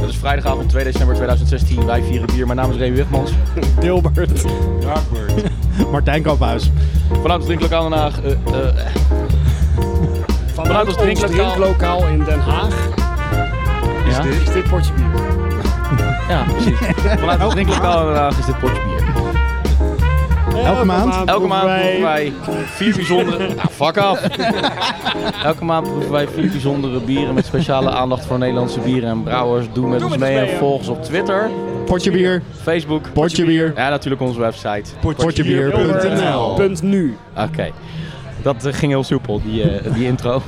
Het is vrijdagavond 2 december 2016. Wij vieren bier. Mijn naam is Remy Wigmans. Dilbert. Martijn Kamphuis. Vanuit het drinklokaal Den Haag. eh, eh, Vanuit ons drinklokaal. drinklokaal in Den Haag ja? is dit potje bier. ja, precies. Vanuit het drinklokaal in Den Haag is dit potje bier. Elke maand? Elke maand proeven wij vier bijzondere... Ah, fuck af! Elke maand proeven wij vier bijzondere bieren met speciale aandacht voor Nederlandse bieren en brouwers. Doe met ons mee en volg ons op Twitter, Potje bier. Facebook... Potje bier. Ja, natuurlijk onze website. Potjebier.nl Punt nu. Oké. Dat eh, ging heel soepel, die, eh, die intro.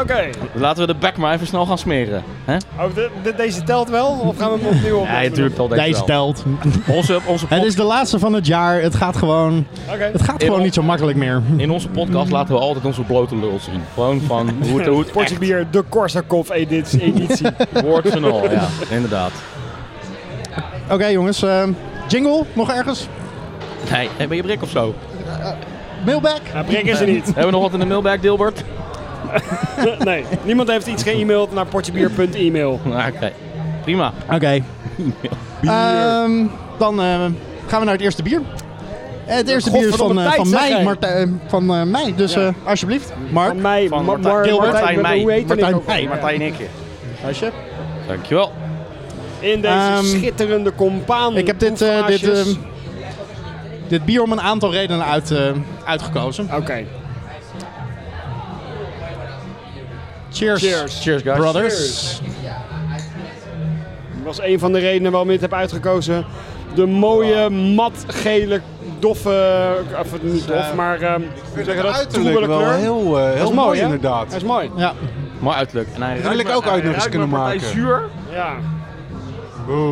Oké, Laten we de bek maar even snel gaan smeren. Hè? oh, de- de- deze telt wel? Of gaan we hem opnieuw op? Ja, natuurlijk wel. denk ik Deze wel. telt. Onze, onze pod- Het is de laatste van het jaar. Het gaat gewoon, Oké. het gaat gewoon niet zo makkelijk meer. In onze podcast laten we altijd onze blote lul zien. Gewoon van hoe het, hoe het Potje bier, de Korsakov editie. editie. echt woord van al. Ja, inderdaad. Oké jongens, eh, jingle nog ergens? Nee, hey, ben je brik of zo? Mailback? Nou, prik is er niet. Hebben we nog wat in de mailbag, Dilbert? Nee, niemand heeft iets geëmaild naar e potjebier.email. Ah, Oké, prima. Oké. Ehm, dan eh, gaan we naar het eerste bier. Eh, Het eerste bier is van, Godverdomme eh, van tijd, zeg mij, jij. Martijn, eh, van eh, mij. Dus Ja. eh, alsjeblieft, Mark. Van mij, Van Ma- Martijn- Mar- Gilbert, Martijn, Martijn hoe Meij. heet Martijn ik ook? Meij. Martijn Nikke. Alsjeblieft. Dankjewel. In deze Ehm, schitterende compaan. Ik heb dit, eh, dit, proefglaasjes. ehm, dit bier om een aantal redenen uit, eh, uitgekozen. Oké, Cheers. Cheers. Cheers, guys. Brothers. dat was een van de redenen waarom ik het heb uitgekozen. De mooie, matgele, doffe, of niet dof, eh, maar ehm hoe zeg je dat? uiterlijk Troebele wel kleur. heel, eh, heel Dat is mooi, hè? inderdaad. Dat is mooi. Ja. Mooi uiterlijk. En hij wil ik ook uit nog eens kunnen Hij maken. zuur. Ja.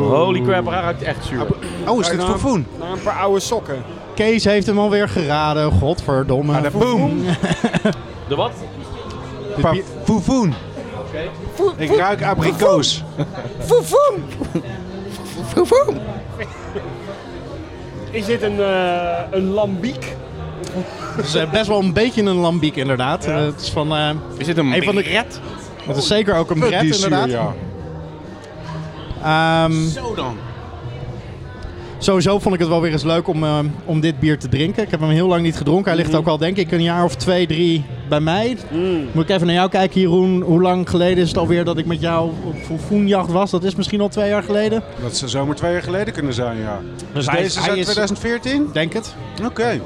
Holy crap, hij ruikt echt zuur. Oh, is Kijk dit nou, fofoen? Naar een paar oude sokken. Kees heeft hem alweer geraden. Godverdomme. Ah, de boom. De wat? Dit bier- Fofoen. Ik ruik abrikoos. Foefoem! Is dit een, eh, een lambiek? Het is eh, best wel een beetje een lambiek inderdaad. Eh, het is van... eh, Is dit een Een van de- red? het is zeker ook een Wat bret die zuur, inderdaad. ja. Ehm, Zo dan. sowieso vond ik het wel weer eens leuk om, eh, om dit bier te drinken. Ik heb hem heel lang niet gedronken. Hij ligt ook al denk ik een jaar of twee, drie bij mij. Moet ik even naar jou kijken Jeroen. Hoe lang geleden is het alweer dat ik met jou op foenjacht was? Dat is misschien al twee jaar geleden. Dat zou zomaar twee jaar geleden kunnen zijn, ja. Dus hij- deze is hij uit is- 2014? Denk het. Oké.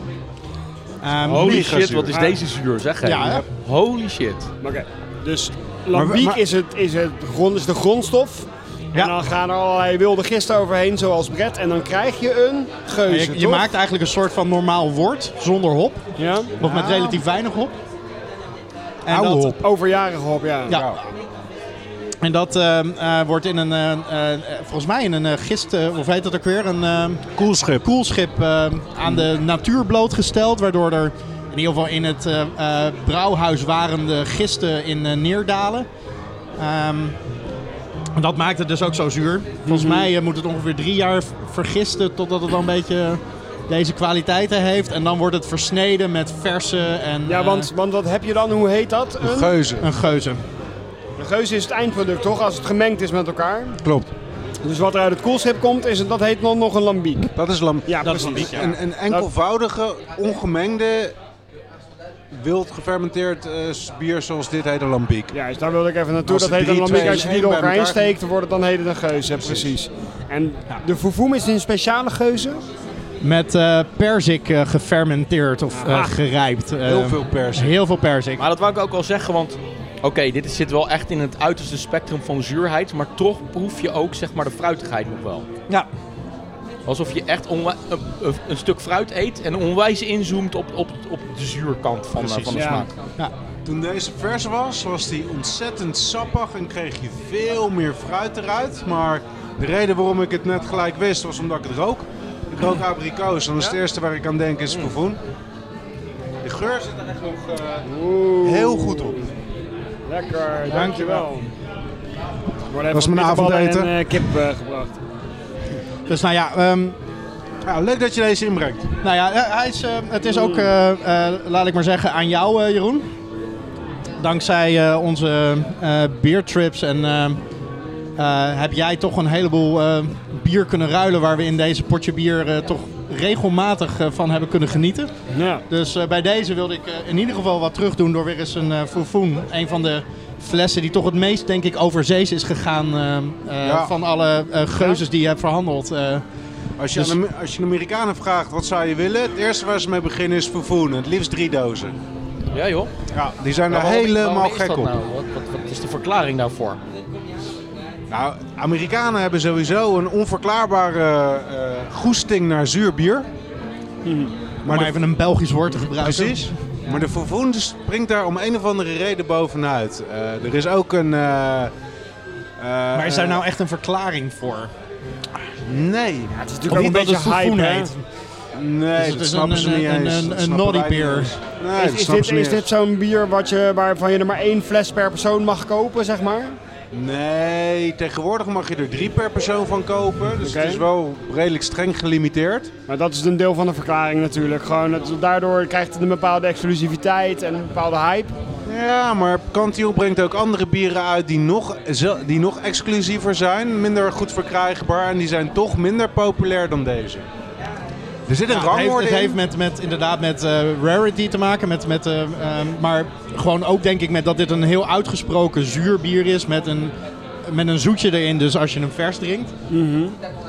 Ehm, Holy Mega shit, zuur. wat is deze zuur, zeg hè? Ja, hè? Holy shit. Oké. Dus lambiek maar- Is, het, is, het grond, is de grondstof. En dan gaan er allerlei wilde gisten overheen, zoals bret. En dan krijg je een geuze, je, je toch? maakt eigenlijk een soort van normaal wort zonder hop. Ja? Nog met relatief weinig hop. En Oude dat, hop. Overjarige hop, ja. Ja. Ja. En dat ehm, eh, wordt in een, eh, eh, volgens mij in een eh, gist, eh, of heet dat ook weer, een ehm, Koelschip. koelschip eh, aan de natuur blootgesteld. Waardoor er in ieder geval in het eh eh, brouwhuis waren de gisten in eh, neerdalen. Ehm, dat maakt het dus ook zo zuur. Volgens Mhm. mij eh, moet het ongeveer drie jaar v- vergisten totdat het dan een beetje deze kwaliteiten heeft. En dan wordt het versneden met verse en Ja, eh, want, want wat heb je dan? Hoe heet dat? Een, Geuze. een geuze. een geuze is het eindproduct, toch? Als het gemengd is met elkaar. Klopt. Dus wat er uit het koelschip komt, is het, dat heet dan nog een lambiek. Dat is lam. Ja, Dat is precies. lambiek, Een, een enkelvoudige, ongemengde, wild gefermenteerd eh, bier zoals dit heet, een lambiek. Juist, dus daar wilde ik even naartoe. Als Dat het heet een drie, lambiek. twee, Als je die één door bij elkaar heen elkaar- steekt, dan wordt het dan heden een geuze. hè, Precies. En de foefoem is een speciale geuze. Met eh perzik eh, gefermenteerd of eh, Ah. gerijpt. eh, Heel veel persen. Heel veel perzik. Maar dat wou ik ook al zeggen, want oké, dit is- zit wel echt in het uiterste spectrum van zuurheid, maar toch proef je ook zeg maar de fruitigheid nog wel. Ja. Alsof je echt onwa- een, een- een stuk fruit eet en onwijs inzoomt op, op, op de zuurkant van, eh, Precies, van de ja. smaak. Toen deze vers was, was die ontzettend sappig en kreeg je veel meer fruit eruit. Maar de reden waarom ik het net gelijk wist, was omdat ik het rook. Ik rook abrikoos en dat is het eerste waar ik aan denk is proefoen. Mm. De geur zit er echt nog eh, heel goed op. Lekker, dankjewel. Dat was mijn avondeten. En eh, kip eh, gebracht. Dus nou ja, ehm, Ja, leuk dat je deze inbrengt. nou ja eh, hij is, eh, het is ook, eh, eh, laat ik maar zeggen, aan jou eh, Jeroen. Dankzij eh, onze eh beertrips en eh, eh, heb jij toch een heleboel eh, bier kunnen ruilen waar we in deze potje bier eh, toch regelmatig eh, van hebben kunnen genieten. Ja. Dus eh, bij deze wilde ik eh, in ieder geval wat terug doen door weer eens een eh Fofoen. Een van de flessen die toch het meest, denk ik, overzees is gegaan eh, eh, Ja. van alle eh, geuzes die je hebt verhandeld. eh. Als je, aan de, als je de Amerikanen vraagt wat zou je willen, het eerste waar ze mee beginnen is vervoen. Het liefst drie dozen. Ja joh. Ja, die zijn er Maar waarom- helemaal waarom is gek dat op. nou? Wat, wat, wat is de verklaring daarvoor? Nou, Amerikanen hebben sowieso een onverklaarbare eh, goesting naar zuur bier. maar de- even een Belgisch woord te gebruiken. Precies. Maar de Vervoen springt daar om een of andere reden bovenuit. Eh, er is ook een. eh, eh, Maar is daar nou echt een verklaring voor? Nee. Het is Of natuurlijk ook een niet dat beetje het hype, Fofoen hè? heet? Nee, het dat een- snappen ze een- niet een- eens. een- Dat een snappen noddy wij niet beer? eens. Nee, Is, dat is snappen dit, ze niet is dit eens. zo'n bier wat je, waarvan je er maar één fles per persoon mag kopen, zeg maar? Nee, tegenwoordig mag je er drie per persoon van kopen. Dus Oké. het is wel redelijk streng gelimiteerd. Maar dat is een deel van de verklaring natuurlijk. Gewoon het, daardoor krijgt het een bepaalde exclusiviteit en een bepaalde hype. Ja, maar Cantil brengt ook andere bieren uit die nog, zel- die nog exclusiever zijn, minder goed verkrijgbaar en die zijn toch minder populair dan deze. Er zit een Ja, het heeft, rangorde het in. heeft met, met, inderdaad met eh, rarity te maken. Met, met, eh, ehm, maar gewoon ook denk ik met dat dit een heel uitgesproken zuur bier is. Met een, met een zoetje erin, dus als je hem vers drinkt. Mhm.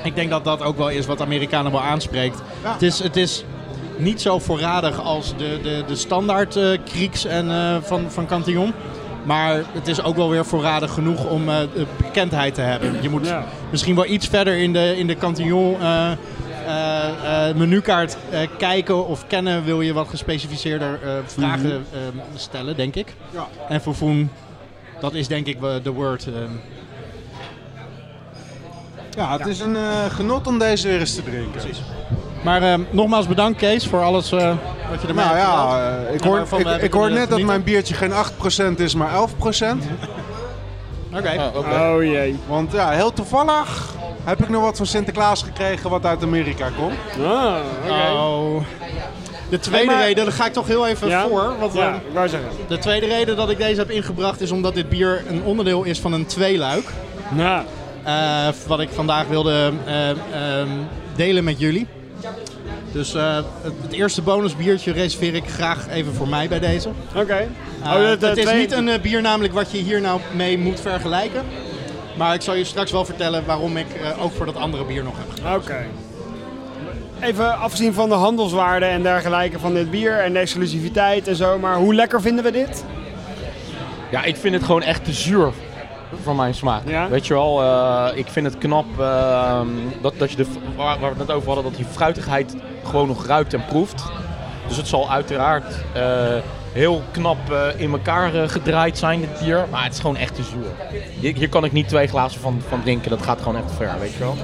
Ik denk dat dat ook wel is wat Amerikanen wel aanspreekt. Ja. Het, is, het is niet zo voorradig als de, de, de standaard eh krieks en, eh, van, van Cantillon. Maar het is ook wel weer voorradig genoeg om eh, de bekendheid te hebben. Je moet Ja. misschien wel iets verder in de, in de Cantillon eh, eh, eh, menukaart eh, kijken of kennen. Wil je wat gespecificeerder eh, vragen Mhm. eh, stellen, denk ik. Ja. En voor Foen, dat is denk ik eh, de word. eh. Ja, het is een eh, genot om deze weer eens te drinken. Precies. Maar eh, nogmaals bedankt Kees voor alles eh, wat je ermee Nou hebt gedaan. ja, eh, ik hoor, Waarvan we ik, hebben ik hoor kunnen net dat genieten. mijn biertje geen 8% is, maar 11%. eh, Oké. oké. Oh jee. Want ja, heel toevallig heb ik nog wat van Sinterklaas gekregen wat uit Amerika komt. Ah, oké. Oh. De tweede Hey, maar- reden, daar ga ik toch heel even Ja? voor. Want, ja, eh, ik wou zeggen. de tweede reden dat ik deze heb ingebracht is omdat dit bier een onderdeel is van een tweeluik. Ja. Eh, wat ik vandaag wilde eh, ehm, delen met jullie. Dus eh, het, het eerste bonusbiertje reserveer ik graag even voor mij bij deze. Oké. Eh, Oh, dat, eh, het is twee- niet een eh, bier namelijk wat je hier nou mee moet vergelijken. Maar ik zal je straks wel vertellen waarom ik eh, ook voor dat andere bier nog heb. Oké. Even afgezien van de handelswaarde en dergelijke van dit bier en de exclusiviteit en zo, maar hoe lekker vinden we dit? Ja, ik vind het gewoon echt te zuur voor mijn smaak. Ja? Weet je wel, eh, ik vind het knap eh, dat, dat je de, waar, waar we het net over hadden, dat die fruitigheid gewoon nog ruikt en proeft. Dus het zal uiteraard eh, heel knap eh, in elkaar eh, gedraaid zijn, dit bier. Maar het is gewoon echt te zuur. Hier, hier kan ik niet twee glazen van, van drinken, dat gaat gewoon echt ver, weet je wel.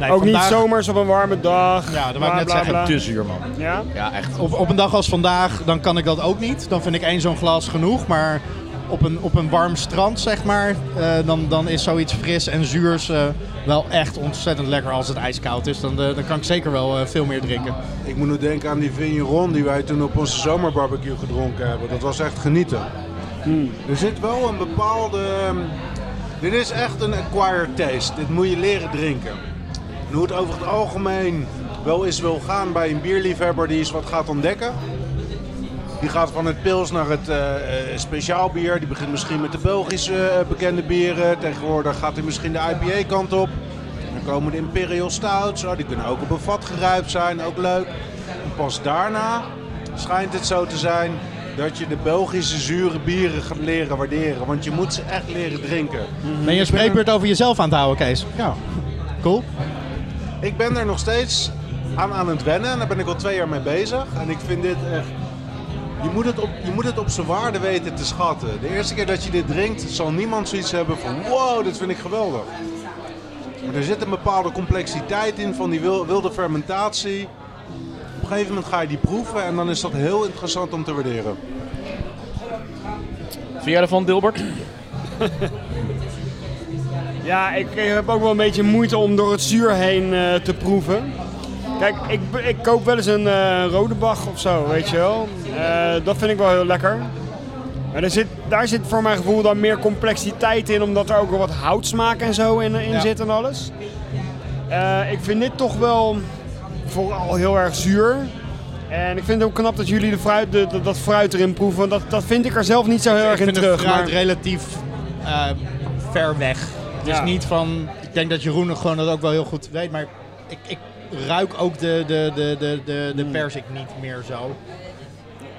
Nee, Ook niet vandaag- zomers op een warme dag. Ja, dat wou bla, ik net bla, zeggen. bla. Te zuur, man. Ja? Ja, echt. Op, op een dag als vandaag, dan kan ik dat ook niet. Dan vind ik één zo'n glas genoeg. Maar op een, op een warm strand, zeg maar, eh, dan, dan is zoiets fris en zuurs eh, wel echt ontzettend lekker als het ijskoud is. Dan, eh, dan kan ik zeker wel eh, veel meer drinken. Ik moet nu denken aan die vigneron die wij toen op onze zomerbarbecue gedronken hebben. Dat was echt genieten. Er zit wel een bepaalde... ehm, Dit is echt een acquired taste. Dit moet je leren drinken. En hoe het over het algemeen wel eens wil gaan bij een bierliefhebber die eens wat gaat ontdekken. Die gaat van het pils naar het eh, eh, speciaal bier. Die begint misschien met de Belgische eh, bekende bieren. Tegenwoordig gaat hij misschien de IPA kant op. Dan komen de Imperial Stouts. Oh, die kunnen ook op een vat geruimd zijn. Ook leuk. En pas daarna schijnt het zo te zijn dat je de Belgische zure bieren gaat leren waarderen. Want je moet ze echt leren drinken. Ben je een spreekbeurt over jezelf aan het houden, Kees? Ja. Cool. Ik ben er nog steeds aan aan het wennen. En daar ben ik al twee jaar mee bezig. En ik vind dit echt... Je moet, het op, je moet het op zijn waarde weten te schatten. De eerste keer dat je dit drinkt, zal niemand zoiets hebben van... Wow, dit vind ik geweldig. Maar er zit een bepaalde complexiteit in van die wil- wilde fermentatie. Op een gegeven moment ga je die proeven en dan is dat heel interessant om te waarderen. Vind jij ervan, Dilbert? Ja, ik, ik heb ook wel een beetje moeite om door het zuur heen eh, te proeven. Kijk, ik, ik koop wel eens een eh rode bach of zo, weet je wel. Eh, dat vind ik wel heel lekker. Maar er zit, daar zit voor mijn gevoel dan meer complexiteit in, omdat er ook wel wat houtsmaak en zo in, in Ja. zit en alles. Eh, ik vind dit toch wel vooral heel erg zuur. En ik vind het ook knap dat jullie de fruit, de, de- dat fruit erin proeven, want dat, dat vind ik er zelf niet zo heel Ik erg in vind het terug. fruit maar- relatief eh, ver weg. Het Ja. is niet van... Ik denk dat Jeroen gewoon dat ook wel heel goed weet, maar ik, ik ruik ook de, de, de, de, de, Hmm. de persik niet meer zo.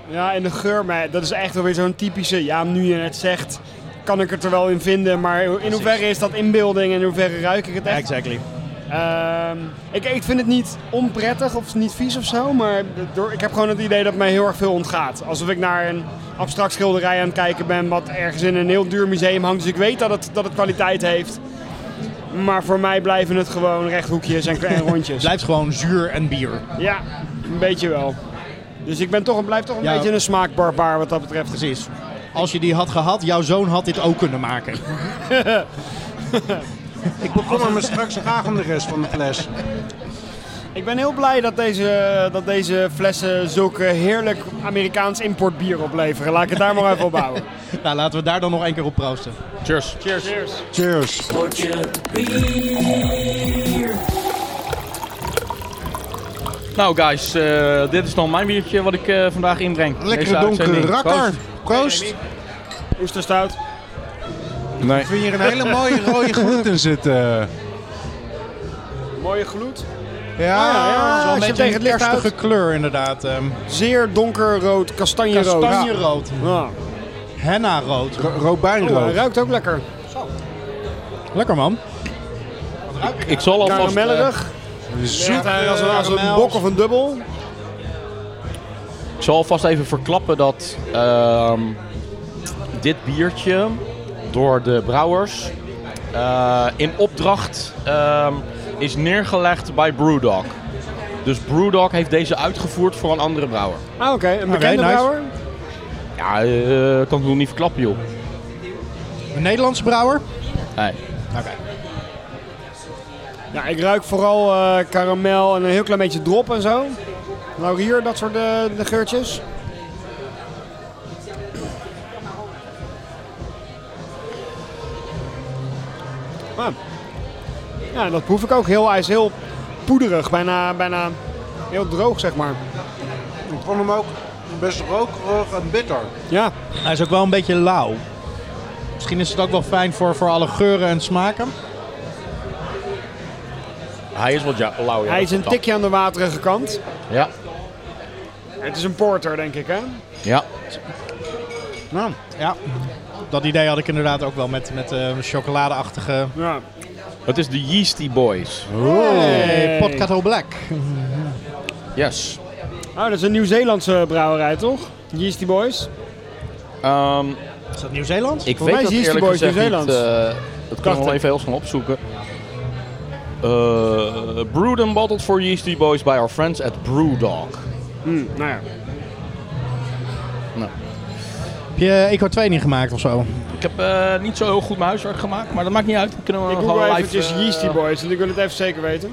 Ja, en de geur, maar dat is echt wel weer zo'n typische, ja, nu je het zegt, kan ik het er wel in vinden, maar in hoeverre is dat inbeelding en in hoeverre ruik ik het echt? exactly. Ehm, ik, ik vind het niet onprettig of niet vies of zo, maar door, ik heb gewoon het idee dat mij heel erg veel ontgaat. Alsof ik naar een abstract schilderij aan het kijken ben, wat ergens in een heel duur museum hangt. Dus ik weet dat het, dat het kwaliteit heeft. Maar voor mij blijven het gewoon rechthoekjes en, en rondjes. Blijft gewoon zuur en bier. Ja, een beetje wel. Dus ik ben toch, een- blijf toch een Ja. beetje een smaakbarbaar wat dat betreft. Precies. Als je die had gehad, jouw zoon had dit ook kunnen maken. Ik bekommer me straks graag om de rest van de fles. Ik ben heel blij dat deze, dat deze flessen zulke heerlijk Amerikaans importbier opleveren. Laat ik het daar maar even op houden. Nou, laten we daar dan nog één keer op proosten. Cheers. Cheers. Cheers. Nou guys, eh, dit is dan mijn biertje wat ik eh, vandaag inbreng. Lekkere Deze donkere uitzending. rakker. Proost. Proost. Oesterstout. Ik vind hier een hele mooie rode gloed in zitten. Mooie gloed. Ah, Ah, Ja, ja. Zo'n als je beetje tegen het een licht kerstige houdt. kleur inderdaad. ehm Zeer donkerrood, kastanjerood. kastanjerood, Ja. henna-rood. Ro- Robijnrood. Oh, hij ruikt ook lekker. Lekker man. Ik zal alvast... eh, Karamellerig. Zoet. eh, Ziet hij als een, als een karamels. bok of een dubbel. Ik zal alvast even verklappen dat ehm, dit biertje door de brouwers eh, in opdracht ehm, is neergelegd bij Brewdog. Dus Brewdog heeft deze uitgevoerd voor een andere brouwer. Ah, oké. Een bekende nice. brouwer. Ja, eh, kan ik nog niet verklappen joh. Een Nederlandse brouwer. Nee. Ja, Nou, ik ruik vooral eh, karamel en een heel klein beetje drop en zo. Laurier, dat soort eh, de geurtjes. Ah. Ja, dat proef ik ook heel. Hij is heel poederig, bijna, bijna heel droog, zeg maar. Ik vond hem ook best rokerig en bitter. Ja, Hij is ook wel een beetje lauw. Misschien is het ook wel fijn voor, voor alle geuren en smaken. Hij is wat ja, lauw. ja, hij dat is een klopt. tikje aan de waterige kant. Ja, Het is een porter, denk ik, hè? ja. Nou, ja. Dat idee had ik inderdaad ook wel met, met eh, chocoladeachtige... Ja. Het is de Yeasty Boys. Hey, Pot Cato Black. Yes. Oh, dat is een Nieuw-Zeelandse brouwerij, toch? Yeasty Boys. Ehm, Is dat Nieuw-Zeeland? ik Volgens weet mij is dat Yeasty eerlijk Boys gezegd niet. Nieuw-Zeelands. eh, dat kunnen we wel ik. even heel snel opzoeken. Eh brewed and bottled for Yeasty Boys by our friends at Brewdog. Hm, nou ja. Heb je Eco 2 niet gemaakt of zo? Ik heb eh, niet zo heel goed mijn huiswerk gemaakt, maar dat maakt niet uit. Dan Kunnen we Ik gewoon google live, eventjes eh, Yeasty Boys, want ik wil het even zeker weten.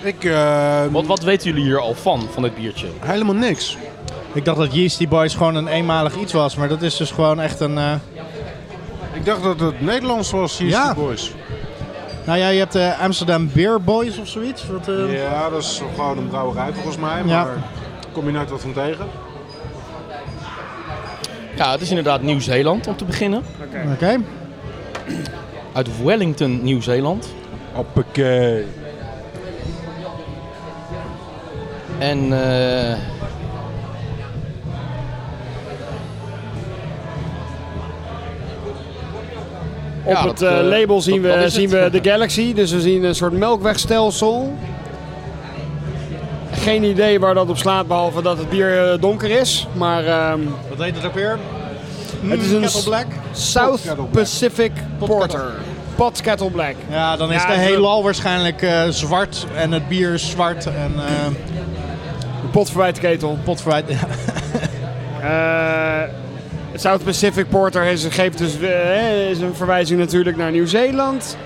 Ik, eh, Wat, wat weten jullie hier al van, van dit biertje? helemaal niks. Ik dacht dat Yeasty Boys gewoon een eenmalig iets was, maar dat is dus gewoon echt een... eh, Ik dacht dat het Nederlands was, hier Ja. de boys. Nou ja, je hebt de Amsterdam Beer Boys of zoiets. Wat, eh, Ja, dat is gewoon een brouwerij volgens mij, Ja. maar kom je nooit wat van tegen. Ja, het is inderdaad Nieuw-Zeeland om te beginnen. Oké. Uit Wellington, Nieuw-Zeeland. Hoppakee. En eh, Op Ja, het dat, eh, eh, label dat- zien, dat we, is zien we het. de Galaxy, dus we zien een soort melkwegstelsel. Geen idee waar dat op slaat, behalve dat het bier eh, donker is. Maar ehm, Wat heet het ook weer? Hmm, het is een Kettle s- Black. South Pot Kettle Black. Pacific Pot Porter. Pot Kettle Black. Ja, dan is Ja, de het- heelal waarschijnlijk eh, zwart en het bier is zwart en eh, De pot verwijt ketel. pot vooruit. Eh, het South Pacific Porter is, geeft dus, eh, is een verwijzing natuurlijk naar Nieuw-Zeeland.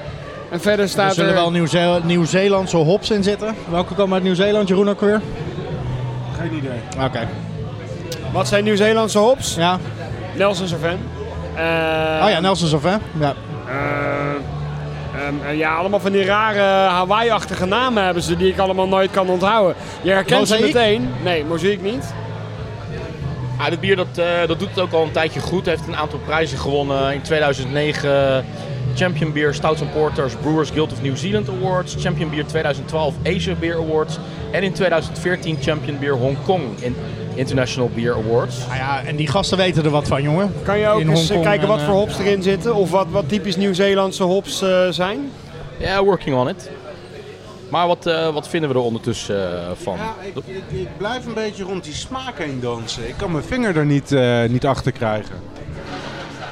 En verder er staat zullen er... wel Nieuw-Zeel- Nieuw-Zeelandse hops in zitten. Welke komen uit Nieuw-Zeeland, Jeroen ook weer? Geen idee. Oké. Wat zijn Nieuw-Zeelandse hops? Ja. Nelson Servan. Eh, Oh ja, Nelson Sauvin. Ja. eh, ehm, eh, ja, allemaal van die rare Hawaii-achtige namen hebben ze die ik allemaal nooit kan onthouden. Je herkent ze Mozaïek? meteen. Nee, mozaïek niet. Ah, dit bier dat, eh, dat doet het ook al een tijdje goed. Heeft een aantal prijzen gewonnen. In 2009 Champion Beer Stouts and Porters Brewers Guild of New Zealand Awards. Champion Beer 2012 Asia Beer Awards. En in 2014 Champion Beer Hong Kong in- International Beer Awards. Nou ja, en die gasten weten er wat van, jongen. Kan je ook In eens Hongkong kijken en, wat eh, voor hops erin zitten? Of wat, wat typisch Nieuw-Zeelandse hops eh, zijn? Ja, working on it. Maar wat, eh, wat vinden we er ondertussen eh, van? Ja, ik, ik, ik blijf een beetje rond die smaak heen dansen. Ik kan mijn vinger er niet, eh, niet achter krijgen.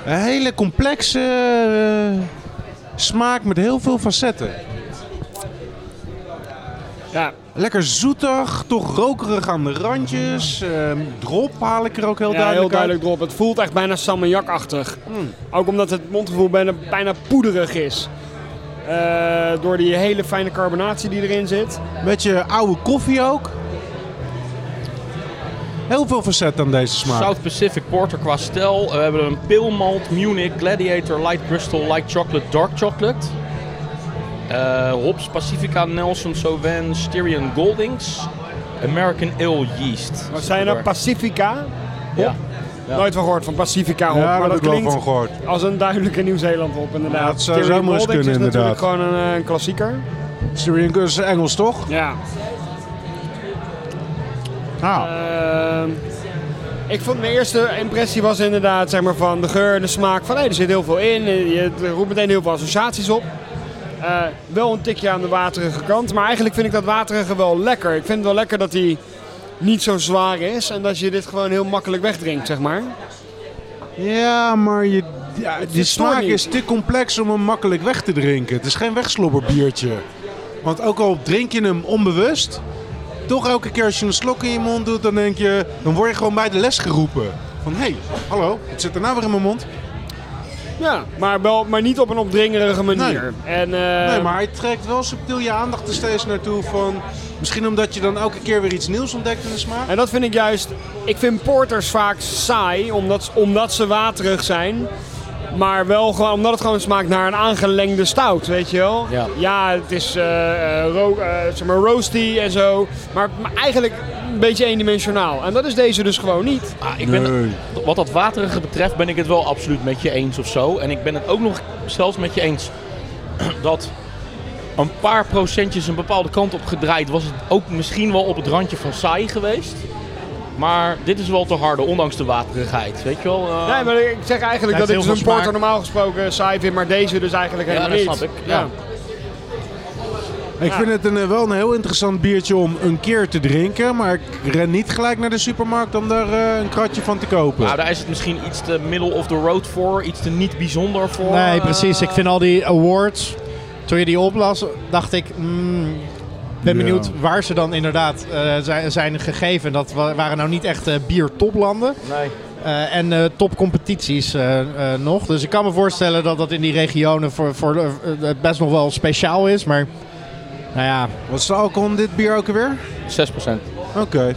Een hele complexe eh, smaak met heel veel facetten. Ja, Lekker zoetig, toch rokerig aan de randjes. Ehm, drop haal ik er ook heel Ja, duidelijk heel uit. duidelijk erop. Het voelt echt bijna salmiakachtig. Ook omdat het mondgevoel bijna, bijna poederig is. Eh, door die hele fijne carbonatie die erin zit. Beetje oude koffie ook. Heel veel facet aan deze smaak. South Pacific Porter qua stijl. We hebben een Pale Malt, Munich, Gladiator, Light Crystal, Light Chocolate, Dark Chocolate. Eh, hops, Pacifica, Nelson, Sauvin, Styrian, Goldings. American Ale Yeast. Wat zijn er? Pacifica. Ja. Ja. Nooit van gehoord van Pacifica hop. Ja, daar maar heb dat ik wel klinkt van gehoord. als een duidelijke Nieuw-Zeeland hop inderdaad. Ja, dat zou Terry zomaar eens Goldings kunnen, is natuurlijk inderdaad. gewoon een, eh, een klassieker. Syrian is Engels toch? Ja. Nou, Ehm, ik vond mijn eerste impressie was inderdaad zeg maar, van de geur en de smaak. Van hé, er zit heel veel in. Eh, Je het roept meteen heel veel associaties op. Eh, wel een tikje aan de waterige kant. Maar eigenlijk vind ik dat waterige wel lekker. Ik vind het wel lekker dat hij niet zo zwaar is. En dat je dit gewoon heel makkelijk wegdrinkt, zeg maar. Ja, maar je, ja, die verstoort smaak niet. is te complex om hem makkelijk weg te drinken. Het is geen wegslobberbiertje. Want ook al drink je hem onbewust, toch elke keer als je een slok in je mond doet, dan denk je, dan word je gewoon bij de les geroepen. Van hé, hey, hallo, het zit er nou weer in mijn mond. Ja, maar, wel, maar niet op een opdringerige manier. En, eh, Nee, maar hij trekt wel subtiel je aandacht er steeds naartoe van... Misschien omdat je dan elke keer weer iets nieuws ontdekt in de smaak. En dat vind ik juist. Ik vind porters vaak saai, omdat, omdat ze waterig zijn. Maar wel gewoon, omdat het gewoon smaakt naar een aangelengde stout, weet je wel? Ja. het is eh, eh, ro- eh, zeg maar roasty en zo. Maar, maar eigenlijk een beetje eendimensionaal. En dat is deze dus gewoon niet. Ah, ik ben, Nee. Wat dat waterige betreft ben ik het wel absoluut met je eens of zo. En ik ben het ook nog zelfs met je eens dat een paar procentjes een bepaalde kant op gedraaid was het ook misschien wel op het randje van saai geweest. Maar dit is wel te harde, ondanks de waterigheid. Weet je wel? eh, Nee, maar ik zeg eigenlijk heeft dat ik heel dus een veel smaak. porter normaal gesproken saai vind, maar deze dus eigenlijk ja, helemaal dat niet. snap ik. Ja. Ik vind het een, eh, wel een heel interessant biertje om een keer te drinken. Maar ik ren niet gelijk naar de supermarkt om daar eh, een kratje van te kopen. Nou, daar is het misschien iets te middle of the road voor, iets te niet bijzonder voor. Nee, eh, precies. Ik vind al die awards. Toen je die oplas, dacht ik. mm, ben Ja. benieuwd waar ze dan inderdaad eh, zijn, zijn gegeven. Dat wa- waren nou niet echt eh, biertoplanden. Nee. Eh, en eh, topcompetities eh, eh, nog. Dus ik kan me voorstellen dat dat in die regionen voor, voor, eh, eh, best nog wel speciaal is. Maar nou ja, Wat is de alcohol in dit bier ook alweer? 6%. Oké.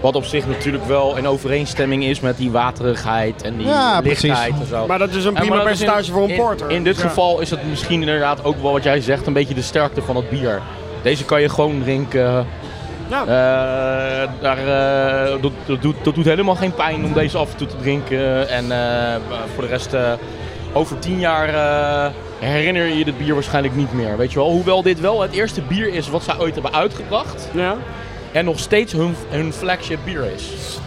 Wat op zich natuurlijk wel in overeenstemming is met die waterigheid en die Ja, precies. lichtheid en zo. Maar dat is een Ja, maar prima dat is in- percentage voor een in- porter. In, dit Ja. geval is het misschien inderdaad ook wel wat jij zegt, een beetje de sterkte van het bier. Deze kan je gewoon drinken. Ja. Eh, daar, eh, dat, dat doet, dat doet helemaal geen pijn om deze af en toe te drinken. En eh, voor de rest, eh, over tien jaar eh, herinner je je dit bier waarschijnlijk niet meer. Weet je wel? Hoewel dit wel het eerste bier is wat zij ooit hebben uitgebracht. Ja. En nog steeds hun, hun flagship bier is.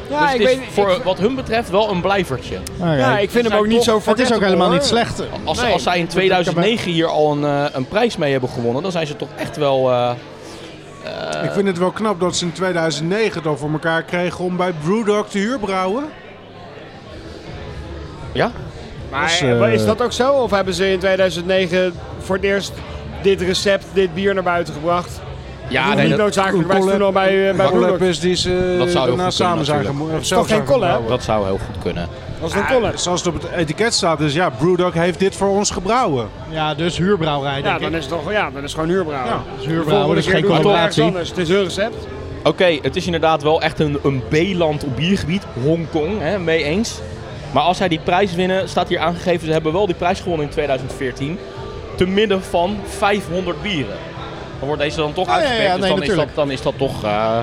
Ja, dus ik het is weet- voor ik- wat hun betreft wel een blijvertje. nou ja, ja, ik vind hem ook niet zo het is ook forgettable, helemaal niet hoor. slecht. Als, Nee, als zij in 2009 hier al een, eh, een prijs mee hebben gewonnen, dan zijn ze toch echt wel. eh, Ik vind het wel knap dat ze in 2009 het al voor elkaar kregen om bij Brewdog te huurbrouwen. ja? Maar Dus, eh, eh, is dat ook zo? Of hebben ze in 2009 voor het eerst dit recept, dit bier naar buiten gebracht? Ja, Of nee, niet dat, noodzakelijk. een Wij toen al bij, eh, bij Collab Roelof. is die ze eh, Dat zou heel daarna goed samen kunnen, zijn natuurlijk. gemo- of is zelf toch zijn geen collab? gebrouwen. dat zou heel goed kunnen. Was het een collab? Ah, Zoals het op het etiket staat, dus ja, Brewdog heeft dit voor ons gebrouwen. Ja, dus huurbrouwerij. Ja, Denk dan ik. is het toch eh, ja, dan is het gewoon huurbrouwen. Ja, De Dus huurbrouwen volgende is keer geen doen we toch ergens collaboratie. anders. Het is hun recept. Oké, het is inderdaad wel echt een, een B-land op biergebied. Hongkong, hè, mee eens. Maar als zij die prijs winnen, staat hier aangegeven, ze hebben wel die prijs gewonnen in 2014. Te midden van 500 bieren. Dan wordt deze dan toch Ah, ja, ja, uitgeperkt, nee, dus dan is, dat, natuurlijk. dan is dat toch... eh,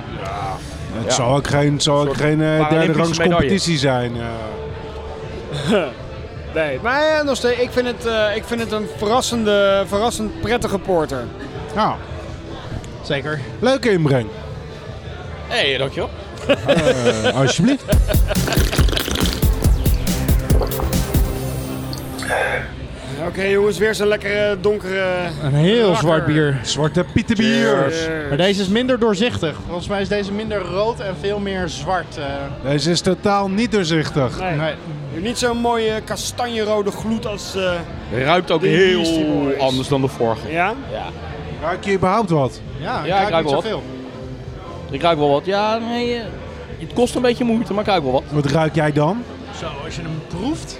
Het Ja. zal ook geen, het zal ook Soort geen eh, derde Paralympische rangs medaille. competitie zijn. eh. Nee, maar ja, nog steeds, ik, vind het, eh, ik vind het een verrassende, verrassend prettige porter. nou, Zeker. leuke inbreng. Hé, hey, dankjewel. Eh, alsjeblieft. Oké jongens, weer zo'n lekkere donkere... Een heel Rakker. zwart bier. Zwarte Pieterbier. Maar deze is minder doorzichtig. Volgens mij is deze minder rood en veel meer zwart. eh. Deze is totaal niet doorzichtig. Nee. nee. Niet zo'n mooie kastanjerode gloed als... eh, Ruikt ook De Beastie heel Boys. anders dan de vorige. ja? Ja. Ruik je überhaupt wat? Ja, Ja, ik ik ruik ruik niet wel zoveel. Ik ruik wel wat. Ja, nee. eh, Het kost een beetje moeite, maar ik ruik wel wat. Wat ruik jij dan? Zo, als je hem proeft,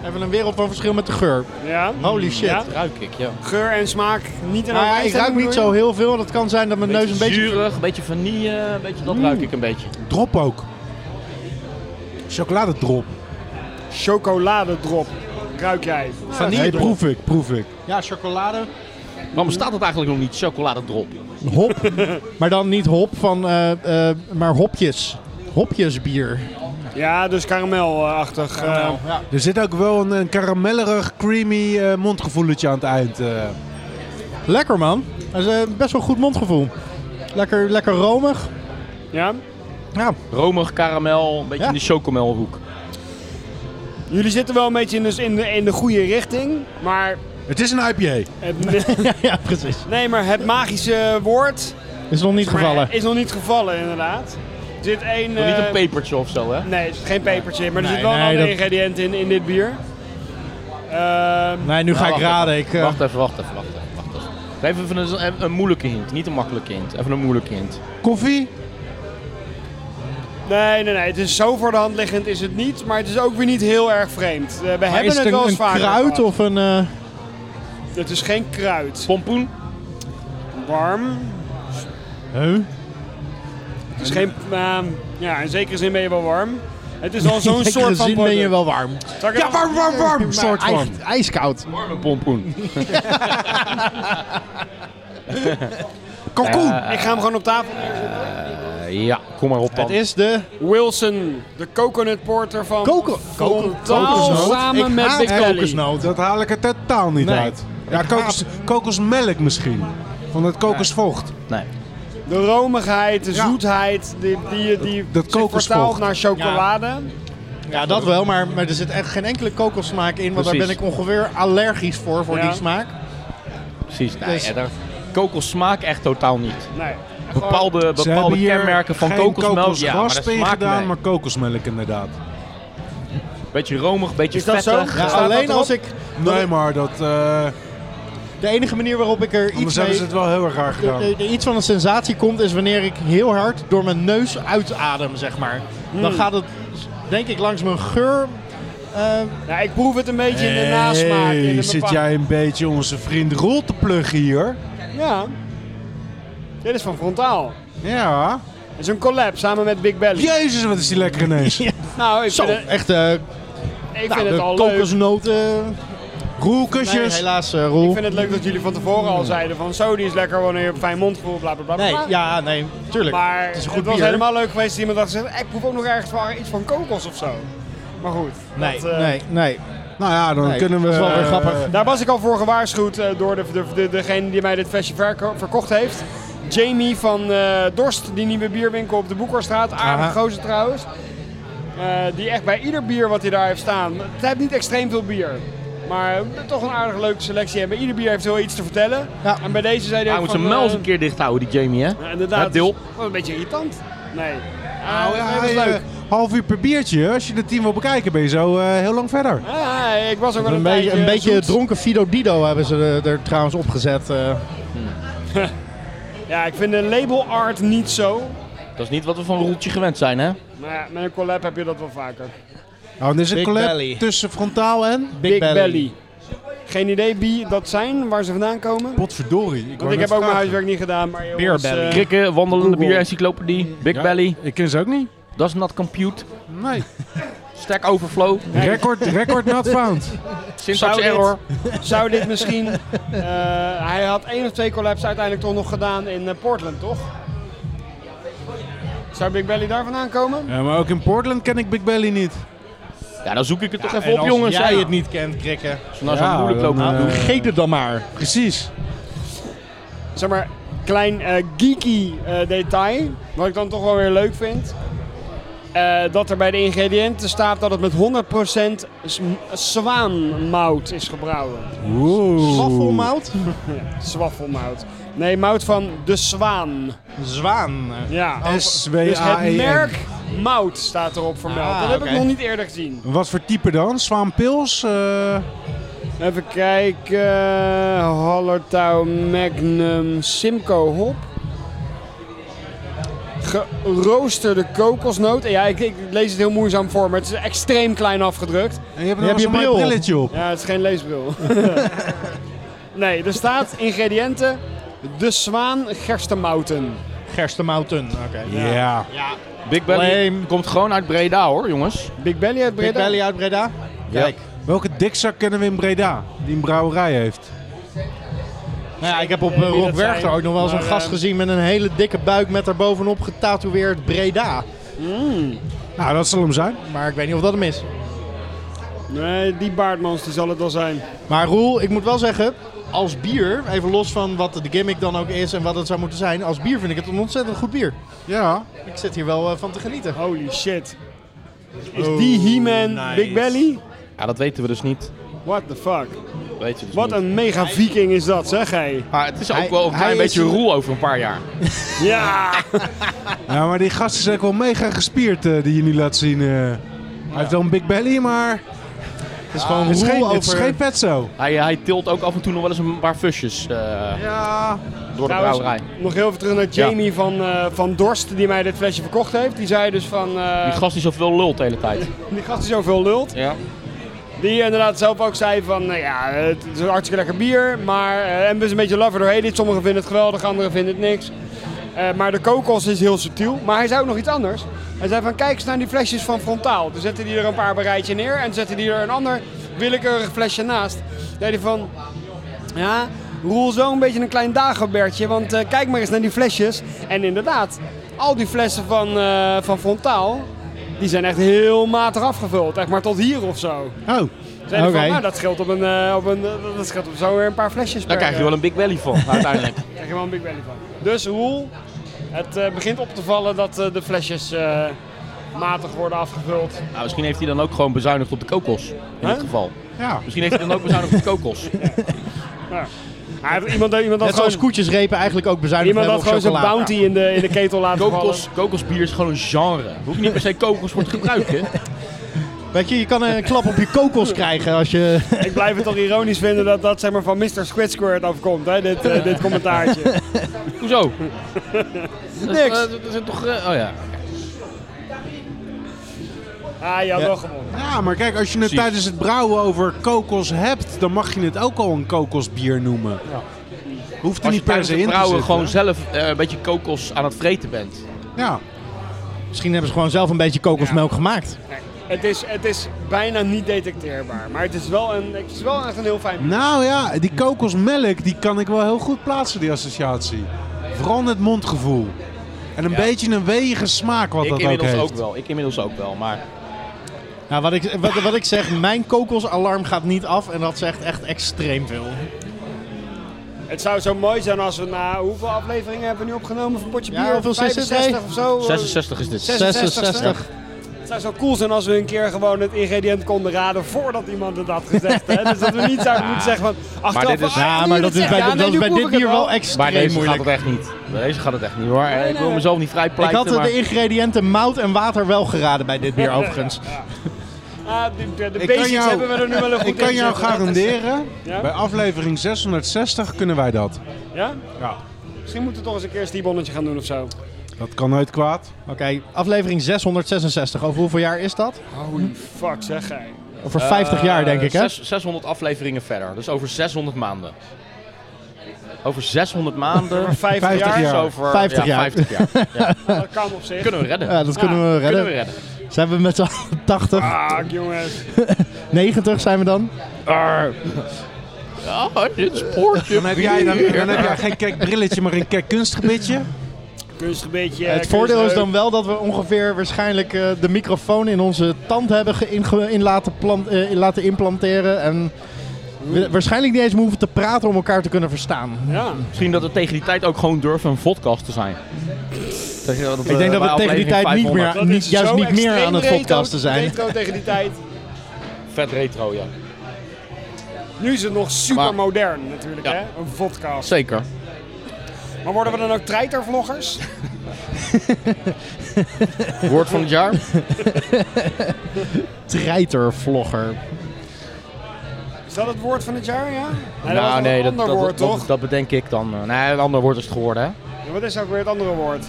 hebben we een wereld van verschil met de geur. Ja? Holy shit. Ja? Ruik ik, ja. Geur en smaak niet in Nou ja, ik overeenstemming, ruik niet bedoel zo je? heel veel. Dat kan zijn dat mijn neus een beetje... Mm. zuurig, een beetje vanille, een beetje dat ruik ik een beetje. Drop ook. Chocoladedrop. Chocoladedrop ruik jij. Nee, proef ik, proef ik. Ja, chocolade. Waarom staat het eigenlijk nog niet? Chocoladedrop. Hop. maar dan niet hop van... eh, eh, maar hopjes. Hopjesbier. Ja, dus karamelachtig. Nou, eh, ja. Er zit ook wel een, een karamellerig, creamy eh mondgevoeletje aan het eind. eh. Lekker man. Dat is eh, best wel goed mondgevoel. Lekker, lekker romig. ja? Ja. Romig, karamel, een beetje Ja. in de chocomelhoek. Jullie zitten wel een beetje in de, in de, in de goede richting, maar... Het is een IPA. Het, ja, ja, precies. nee, maar het magische woord... Is nog niet maar gevallen. Is nog niet gevallen, inderdaad. Er zit één... Niet eh, een pepertje of zo, hè? Nee, er zit geen pepertje in, maar er Nee, zit wel een nee, ander dat- ingrediënt in, in dit bier. Ehm, Nee, nu ga Nou, ik wacht even. raden. Ik, eh, Wacht even, wacht even, wacht even. Wacht even. Geef even een, een, een moeilijke hint, niet een makkelijke hint. Even een moeilijke hint. Koffie? nee, nee, nee. Het is zo voor de hand liggend is het niet, maar het is ook weer niet heel erg vreemd. Eh, we maar hebben is het, het een, wel eens een vaker kruid gehad. of een... eh, Het is geen kruid. Pompoen? Warm. huh? Het is geen... ehm, ja, in zekere zin ben je wel warm. Het is al zo'n In zekere soort van... zin ben je wel warm. Zal ik het nog- warm, warm. Maar Soort van. ijs- ijskoud. Warme pompoen. Kalkoen. Ik ga hem gewoon op tafel neerzetten. Eh, ja, kom maar op dan. Het is de Wilson, de coconut porter van koko Frontaal samen ik met haat Big Belly. kokosnoot. Dat haal ik er totaal niet Nee. uit. Ja, kokos, kokosmelk misschien. Van het kokosvocht. Nee. de romigheid, de Ja. zoetheid, die, die, die dat zich kokosvocht. vertaalt naar chocolade. Ja, dat wel, maar, maar er zit echt geen enkele kokosmaak in. Want daar Precies. ben ik ongeveer allergisch voor, voor Ja. die smaak. Precies, nee. Dus- ja, daar- kokos smaakt echt totaal niet. Nee. Bepaalde, Ze hebben bepaalde hier kenmerken van geen kokosmelk. Ja, maar dat kokoswasp in smaakt gedaan, nee. maar kokosmelk inderdaad. Beetje romig, beetje Is dat zo? vettig. Ja. Ja. Staat alleen dat als ik... Nee, maar dat... eh De enige manier waarop ik er anders iets hebben mee... ze het wel heel erg raar er- gedaan. er- er iets van een sensatie komt is wanneer ik heel hard door mijn neus uitadem, zeg maar. Hmm. Dan gaat het, denk ik, langs mijn geur... eh, Ja, ik proef het een beetje in de nasmaak. In de Hey, zit bepa- jij een beetje onze vriend Roel te pluggen hier? Ja. Dit is van Frontaal. Ja. Het is een collab samen met Big Belly. Jezus, wat is die lekker ineens. Nou, ik zo, vind het, echt eh ik nou, vind het de al leuk. kokosnoten... Roel, Nee, kusjes. helaas, eh, Ik Roel. vind het leuk dat jullie van tevoren al zeiden van zo, die is lekker wanneer je op fijn mond voelt, bla bla bla. Nee, bla. ja, nee, tuurlijk. Maar het het, is een goed was bier. helemaal leuk geweest dat iemand had gezegd, ik proef ook nog ergens waar iets van kokos of zo. Maar goed. Nee, dat, eh, nee, nee. nou ja, dan Nee, kunnen we... dat is wel weer grappig. Daar was ik al voor gewaarschuwd eh, door de, de, de- degene die mij dit flesje verko- verkocht heeft. Jamie van eh, Dorst, die nieuwe bierwinkel op de Boekerstraat. Aardige Aha. gozer trouwens. Eh, die echt bij ieder bier wat hij daar heeft staan. Het heeft niet extreem veel bier. Maar eh, toch een aardige leuke selectie. En bij ieder bier heeft hij wel iets te vertellen. Ja. En bij deze zei hij Hij ook moet van... zijn muil eens eh, een keer dicht houden, die Jamie, hè? ja, inderdaad. Dat deel. Wel een beetje irritant. Oh, Nee. Nou, Ah, ja, nee, dat eh, was leuk. half uur per biertje. eh, Als je de team wil bekijken, ben je zo eh, heel lang verder. Ah, ik was ook wel een, Een beetje, een tijdje beetje zoet. dronken Fido Dido hebben ze er, er trouwens opgezet. eh. Ja, ik vind de label art niet zo. Dat is niet wat we van Roeltje gewend zijn, hè? Maar ja, met een collab heb je dat wel vaker. Nou, er is een Big collab Belly. tussen frontaal en... Big, Belly. Geen idee wie dat zijn, waar ze vandaan komen. Potverdorie. Ik, Want ik heb ook mijn huiswerk niet gedaan, maar jongens, Beerbelly. eh, Krikken, wandelende Google. bierencyclopedie, Big Belly, Ik ken ze ook niet. Does Not Compute, Nee. Stack Overflow, Record, record not found. Syntax Zou dit- Error. zou dit misschien... eh, hij had één of twee collabs uiteindelijk toch nog gedaan in eh, Portland, toch? Zou Big Belly daar vandaan komen? Ja, maar ook in Portland ken ik Big Belly niet. Ja, dan zoek ik het toch en even op, als jongens. jij ja. het niet kent, krikken. Als we nou zo Ja, moeilijk dan, lopen. eh, Doe geet het dan maar. Precies. zeg maar, klein eh, geeky eh, detail, wat ik dan toch wel weer leuk vind. eh, dat er bij de ingrediënten staat dat het met 100% z- zwaanmout is gebrouwen. Waffelmout? Zwaffelmout. Nee, mout van de zwaan. Zwaan. Ja. Oh, E Dus het merk S-W-A-E-N. mout staat erop vermeld. Ah, dat heb oké. ik nog niet eerder gezien. Wat voor type dan? Zwaanpils? eh Even kijken. Hallertau Magnum Simcoe Hop. Geroosterde kokosnoot. Ja, ik, ik lees het heel moeizaam voor, maar het is extreem klein afgedrukt. en je hebt Je nog hebt zo'n je mooi bril. brilletje op. Ja, het is geen leesbril. nee, er staat ingrediënten. De zwaan gerstemouten. Gerstemouten. Oké. Ja. Big Belly Lame. komt gewoon uit Breda hoor, jongens. Big Belly uit Big Breda. Belly uit Breda? Kijk. Welke dikzak kennen we in Breda? Die een brouwerij heeft. Nou ja, ik heb op eh, wie Rob dat zijn, Werchter ook nog wel eens een maar, gast eh, gezien met een hele dikke buik met daarbovenop getatoeëerd Breda. Nou, dat zal hem zijn. Maar ik weet niet of dat hem is. Nee, die baardmans die zal het wel zijn. Maar Roel, ik moet wel zeggen, als bier, even los van wat de gimmick dan ook is en wat het zou moeten zijn, als bier vind ik het een ontzettend goed bier. Ja. Ik zit hier wel eh, van te genieten. Holy shit. Is die He-Man Oh, nice. Big Belly? Ja, dat weten we dus niet. What the fuck? Weet je dus Wat niet. een mega viking is dat, zeg hij. Maar het is ook Hij- wel een hij klein is beetje een- roel over een paar jaar. Ja! Ja, maar die gast is ook wel mega gespierd eh, die je nu laat zien. eh. Hij heeft wel een big belly, maar Het is gewoon het is Ah, Roel geen, over... het is geen petzo. Hij, eh, hij tilt ook af en toe nog wel eens een paar fusjes eh, Ja. door de Trouwens, eh, brouwerij. nog heel even terug naar Jamie van, eh, van Dorst, die mij dit flesje verkocht heeft. Die zei dus van, eh, Die gast is zoveel lult de hele tijd. die gast die zoveel lult. Ja. Die inderdaad zelf ook zei van, nou ja, het is een hartstikke lekker bier, maar eh, en dus een beetje love er doorheen. Dit, Sommigen vinden het geweldig, anderen vinden het niks. Eh, maar de kokos is heel subtiel. Maar hij zei ook nog iets anders. Hij zei van, kijk eens naar die flesjes van Frontaal. Toen zette hij er een paar op een rijtje neer en zette hij er een ander willekeurig flesje naast. Toen zei hij van, Ja, Roel is wel een beetje een klein dagenbertje, want eh, kijk maar eens naar die flesjes. En inderdaad, al die flessen van, eh, van Frontaal, die zijn echt heel matig afgevuld. Echt maar tot hier of zo. Oh. Zeiden Oké. van, nou, dat scheelt op een, eh, op een eh, dat scheelt op zo weer een paar flesjes Daar krijg je wel een Big Belly van, uiteindelijk. Daar krijg je wel een Big Belly van. Dus Roel, het eh, begint op te vallen dat eh, de flesjes eh, matig worden afgevuld. nou, misschien heeft hij dan ook gewoon bezuinigd op de kokos. In Huh? dit geval. Ja. Misschien heeft hij dan ook bezuinigd op de kokos. Ah, iemand, iemand had Net zoals gewoon, koetjesrepen eigenlijk ook bezuinigd iemand had hebben gewoon op zijn chocola. bounty in de, in de ketel laten vallen. Kokos, kokosbier is gewoon een genre. Hoef je niet per se kokos voor te gebruiken. Weet je, je kan een klap op je kokos krijgen als je... Ik blijf het toch ironisch vinden dat dat zeg maar, van Mr. Squid Squirt afkomt, hè, dit, eh, dit commentaartje. Hoezo? Niks. Dat, eh, dat zijn toch... eh, oh ja. Ah, je had wel gewonnen. Ja, maar kijk, als je het Precies. tijdens het brouwen over kokos hebt, dan mag je het ook al een kokosbier noemen. Hoeft er Als je niet per tijdens se het in te brouwen zitten. gewoon zelf eh, een beetje kokos aan het vreten bent. Ja. Misschien hebben ze gewoon zelf een beetje kokosmelk gemaakt. Het is, het is bijna niet detecteerbaar, maar het is wel, een, het is wel echt een heel fijn Nou ja, die kokosmelk, die kan ik wel heel goed plaatsen, die associatie. Vooral het mondgevoel. En een beetje een wege smaak wat Ik dat ook inmiddels heeft. ook, wel. Ik inmiddels ook wel. Maar Nou, wat, ik, wat, wat ik zeg, mijn kokosalarm gaat niet af en dat zegt echt extreem veel. Het zou zo mooi zijn als we na hoeveel afleveringen hebben we nu opgenomen van Potje Ja, Bier? hoeveel zit het, 65 hè? of zo? 66 is dit. 66. Het zou zo cool zijn als we een keer gewoon het ingrediënt konden raden voordat iemand het had gezegd. Hè? Dus dat we niet zouden moeten zeggen van, achteraf dit van, is- ah, Ja, nu maar je dat is zegt, bij, ja, dat nee, is nu bij proef dit ik het bier al. wel Maar extreem deze moeilijk. gaat het echt niet. Bij deze gaat het echt niet hoor. nee, ik wil nee. mezelf niet vrij Ik had pleiten, de ingrediënten mout en water wel geraden bij dit bier overigens. Ah, de- de, de Ik kan basics jou- hebben we er nu wel een goed Ik kan in jou zitten. Dat is- garanderen, Ja? bij aflevering 660 kunnen wij dat. Ja? Ja. Misschien moeten we toch eens een keer een stiebonnetje gaan doen of zo. Dat kan nooit kwaad. Oké, aflevering 666. Over hoeveel jaar is dat? Holy fuck, zeg jij. Over 50 Eh, jaar, denk ik, hè? zes- 600 afleveringen verder, dus over 600 maanden. Over 600 maanden. Over 50, 50 jaar, Dus jaar. over 50 ja, jaar. 50 jaar. Ja. dat kan op zich. Kunnen we redden. Ja, dat Ja, kunnen we redden. Kunnen we redden. Zijn we met z'n allen 80, Ah, jongens. 90 zijn we dan? Ja, dit spoortje. Dan heb jij, dan, dan heb jij geen kekbrilletje, maar een kekkunstgebitje. Kunstgebeetje. het voordeel is dan wel dat we ongeveer waarschijnlijk eh, de microfoon in onze tand hebben ge- in, ge- in laten, plant- eh, in laten implanteren. En we- waarschijnlijk niet eens meer hoeven te praten om elkaar te kunnen verstaan. Ja. Misschien dat we tegen die tijd ook gewoon durven een podcast te zijn. Ik denk dat we tegen die tijd niet meer, Dat niet, is juist zo niet meer extreem aan het retro- podcasten zijn. Retro tegen die tijd. Vet retro, ja. Nu is het nog super modern natuurlijk, Ja. hè? Een podcast. Zeker. Maar worden we dan ook treitervloggers? Woord van het jaar? Treitervlogger. Is dat het woord van het jaar, ja? Nee, dat was nou, een nee, dat, ander dat, woord, dat- toch? dat bedenk ik dan. eh. Nee, een ander woord is het geworden, hè? Ja, Wat is ook weer het andere woord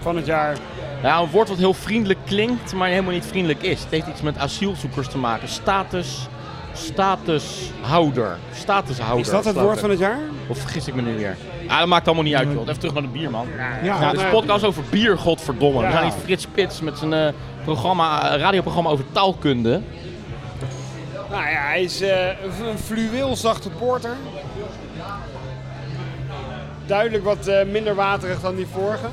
van het jaar? Ja, Nou, een woord wat heel vriendelijk klinkt, maar helemaal niet vriendelijk is. Het heeft iets met asielzoekers te maken. Status, statushouder. Statushouder. Is dat het geloof woord ik. van het jaar? Of vergis ik me nu weer? Ah, dat maakt allemaal niet uit, joh. Even terug naar de bier, man. Ja, Ja, dus podcast over bier, godverdomme. We Ja. zijn niet Frits Spits met zijn eh, programma, eh, radioprogramma over taalkunde. Nou ja, hij is eh, een fluweelzachte porter. Duidelijk wat eh, minder waterig dan die vorige.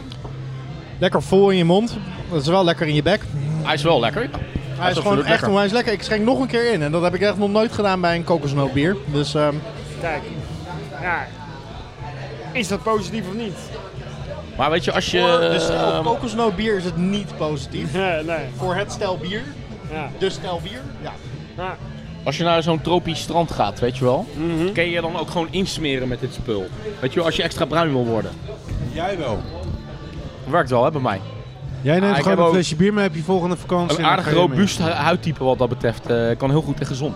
Lekker vol in je mond. Dat is wel lekker in je bek. Hij is wel lekker. ja. Hij is absoluut gewoon echt lekker. onwijs lekker. Ik schenk nog een keer in. En dat heb ik echt nog nooit gedaan bij een kokosnootbier. Dus ehm, Kijk, ja. Is dat positief of niet? Maar weet je, als je... voor dus- de stijl eh, dus kokosnootbier is het niet positief. Ja, nee. Voor het stel bier, Ja. de stel bier. Ja. Ja. Als je naar zo'n tropisch strand gaat, weet je wel, kun je dan ook gewoon insmeren met dit spul. Weet je wel, als je extra bruin wil worden. Jij wel. Werkt wel, hè, bij mij. Jij Ah, ik neemt heb gewoon een ook- flesje bier mee op je volgende vakantie. Een en dan aardig ga je mee. robuust hu- huidtype wat dat betreft. eh, kan heel goed tegen zon.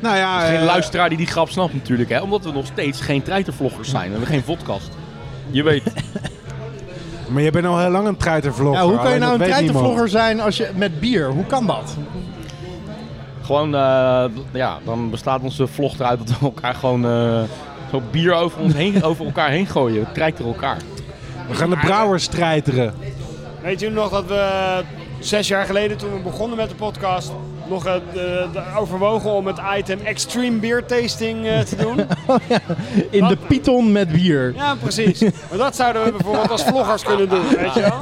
Nou ja, Geen eh, luisteraar die die grap snapt natuurlijk, hè. Omdat we nog steeds geen treitervloggers zijn. We hebben geen podcast. Je weet. Maar je bent al heel lang een treitervlogger. Ja, hoe kan je alleen nou dat een weet niemand. treitenvlogger zijn als je, met bier? Hoe kan dat? Gewoon, eh, d- ja, dan bestaat onze vlog eruit dat we elkaar gewoon eh, zo bier over, ons heen, over elkaar heen gooien. Het krijgt er elkaar. We gaan de brouwers treiteren. Weet je nog dat we zes jaar geleden toen we begonnen met de podcast nog eh, de- de- overwogen om het item extreme beer tasting eh, te doen? In de Wat? Python met bier. Ja, precies. Maar dat zouden we bijvoorbeeld als vloggers kunnen doen, weet je wel?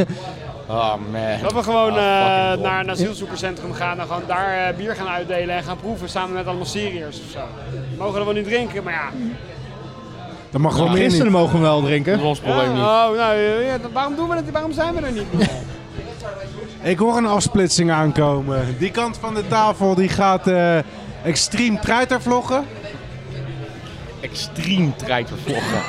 Oh man. Dat we gewoon eh, Ah, fucking dom. naar een asielzoekerscentrum gaan en gewoon daar eh, bier gaan uitdelen en gaan proeven samen met allemaal Syriërs of zo. We mogen er wel niet drinken, maar ja. Dat mag gewoon meer Gisteren niet. mogen we wel drinken. Dat is ons probleem niet. Ja, oh, nou, eh, ja, dan- waarom doen we het? Waarom zijn we er niet? meer? Ik hoor een afsplitsing aankomen. Die kant van de tafel die gaat eh extreem treitervloggen. Extreem treitervloggen.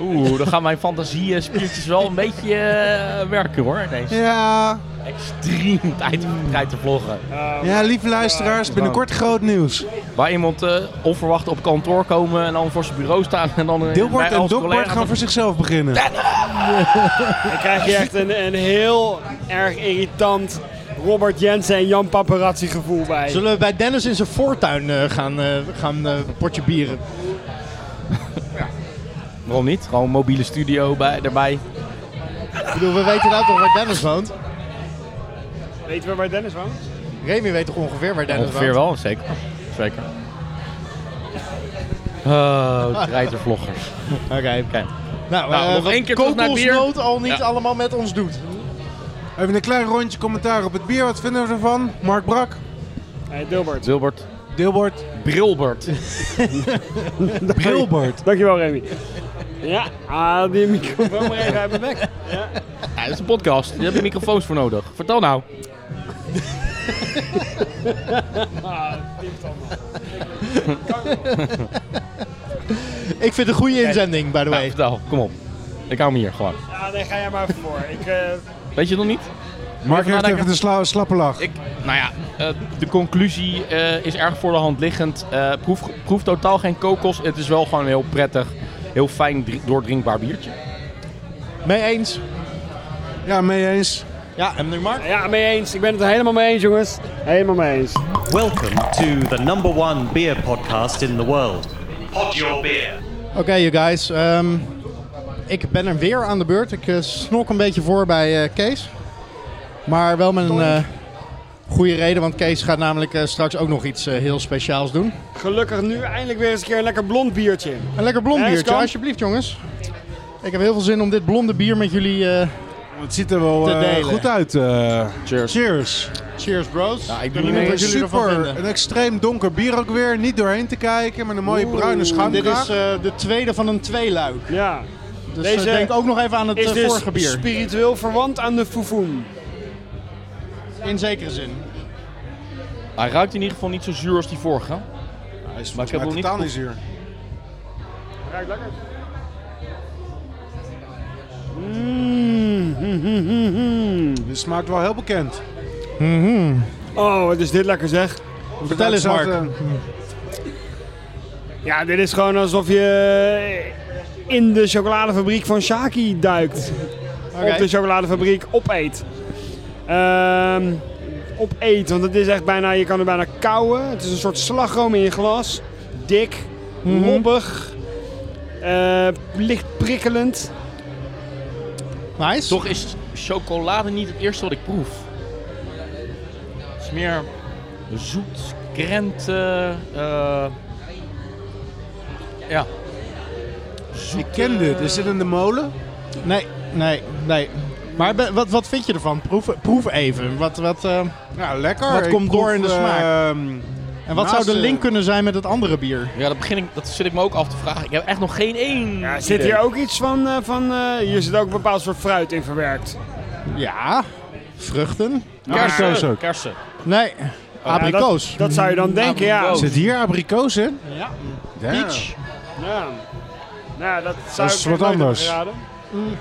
Oeh, dan gaan mijn fantasie-spiertjes wel een beetje eh, werken hoor. ineens. Ja, Extreem treiter- treitervloggen. ja lieve luisteraars, binnenkort groot nieuws. Waar iemand eh, onverwacht op kantoor komen en dan voor zijn bureau staan en dan... eh, Dilbert bij en onze Dokbert collega's- gaan voor zichzelf beginnen. Dan krijg je echt een, een heel erg irritant Robert Jensen en Jan Paparazzi gevoel bij. Zullen we bij Dennis in zijn voortuin eh, gaan, eh, gaan eh, potje bieren? Waarom niet? Gewoon een mobiele studio bij, erbij. Ik bedoel, we weten nou toch waar Dennis woont? Weten we waar Dennis woont? Remy weet toch ongeveer waar Dennis Ongeveer woont? wel, zeker. Zeker. Oh, treitervloggers. Oké. Oké. Nou, Nou, eh, nog wat één keer terug naar bier. kokosnoot al niet Ja. allemaal met ons doet. Even een klein rondje commentaar op het bier. Wat vinden we ervan? Mark Brak, Hey, Eh, Dilbert. Dilbert. Dilbert, Brilbert. Brilbert. Dankjewel, Remy. Ja, ah, die microfoon maar even uit mijn bek. Ja, dat is een podcast. Daar heb je microfoons voor nodig. Vertel nou. Ik vind het een goede inzending, by the Nou, way. vertel. Kom op. Ik hou me hier gewoon. Ja, nee, ga jij maar even voor. Ik, eh, Weet je het nog niet? Mark heeft nadenken. even de sla slappe lach. Ik, nou ja, eh, de conclusie eh, is erg voor de hand liggend. Eh, proef, proef totaal geen kokos. Het is wel gewoon een heel prettig, heel Nou. fijn dri- doordrinkbaar biertje. Mee eens. Ja, mee eens. Ja, en nu Mark? Ja, mee eens. Ik ben het er helemaal mee eens, jongens. Helemaal mee eens. Welcome to the number one beer podcast in the world. Pod Your Beer. Oké, you guys. ehm, ik ben er weer aan de beurt. Ik eh, snok een beetje voor bij eh, Kees. Maar wel met een eh, goede reden, want Kees gaat namelijk eh, straks ook nog iets eh, heel speciaals doen. Gelukkig nu eindelijk weer eens een keer een lekker blond biertje. Een lekker blond Ja, is biertje, kan. alsjeblieft jongens. Ik heb heel veel zin om dit blonde bier met jullie... eh, Het ziet er wel Te eh, delen. goed uit. eh. Cheers. Cheers. cheers bros. Ja, ik ben doe benieuwd niet wat mee. jullie ervan Super. vinden. Een extreem donker bier ook weer. Niet doorheen te kijken met een mooie bruine Dit schuimkraag. is eh, de tweede van een tweeluik. Ja. Dus Deze Deze denk ook nog even aan het Is eh, dus vorige bier. spiritueel verwant aan de foefoen. In zekere zin. Hij ruikt in ieder geval niet zo zuur als die vorige. Hij is Maar ik heb volgens mij nog niet totaal geproefd. niet zuur. Ruikt lekker. Mm, mm, mm, mm, mm. Dit smaakt wel heel bekend. Oh, wat is dit lekker zeg. Vertel eens Hetzelfde- Mark. Ja, dit is gewoon alsof je in de chocoladefabriek van Shaki duikt. Op de chocoladefabriek opeet. Ehm opeet, want het is echt bijna, je kan er bijna kauwen. Het is een soort slagroom in je glas. Dik, Mhm. lobbig, eh, licht prikkelend. Nice. Toch is chocolade niet het eerste wat ik proef. Het is meer zoet, krent. eh, eh, ja. Ik ken dit. Is dit in de molen? Nee, nee, nee. Maar be- wat, wat vind je ervan? Proef, proef even. Wat, wat, eh, Ja, lekker. Wat Ik komt door proef, in de smaak? ehm, en wat Naast, zou de eh, link kunnen zijn met het andere bier? Ja, dat, begin ik, dat zit ik me ook af te vragen. Ik heb echt nog geen één. Ja, zit idee. hier ook iets van, eh, van eh, hier zit ook een bepaald soort fruit in verwerkt. Ja, vruchten. Nou, Abrikoos Kersen. ook. Kersen. Nee, abrikoos. Dat, dat zou je dan denken, ja. Abrikoos. Zit hier abrikoos in? Ja. Ja. Peach. ja. Nou, dat zou Dat ik is nooit wat anders. hebben geraden.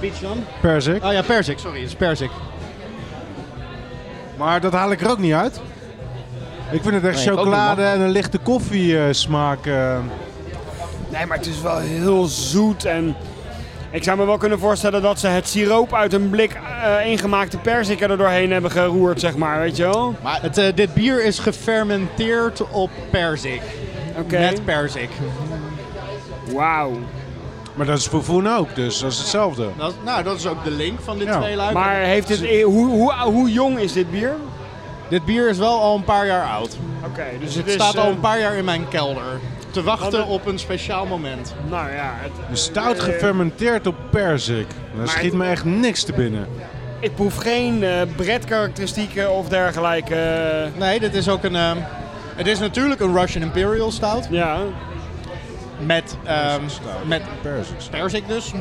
Peach dan? Perzik. Oh ja, perzik. Sorry, het is perzik. Maar dat haal ik er ook niet uit. Ik vind het echt Nee, ik ook chocolade niet, en een lichte koffie eh, smaak. eh. Nee, maar het is wel heel zoet en ik zou me wel kunnen voorstellen dat ze het siroop uit een blik eh, ingemaakte persik er doorheen hebben geroerd, zeg maar, weet je wel? Maar het, eh, dit bier is gefermenteerd op perzik. Oké. Met perzik. Wauw. Maar dat is Fofoen ook, dus dat is hetzelfde. Dat, nou, dat is ook de link van dit Ja. tweeluik. Maar heeft dit, hoe, hoe, hoe jong is dit bier? Dit bier is wel al een paar jaar oud. Oké, dus Het het is... staat al eh, een paar jaar in mijn kelder. Te wachten Hadden- op een speciaal moment. Nou ja, het, Een stout eh, gefermenteerd op perzik. Daar schiet me echt niks te binnen. ik proef geen eh bredkarakteristieken of dergelijke. eh, Nee, dit is ook een. ehm, het is natuurlijk een Russian Imperial Stout. ja, Met, ehm Stout. met Perzik. perzik dus.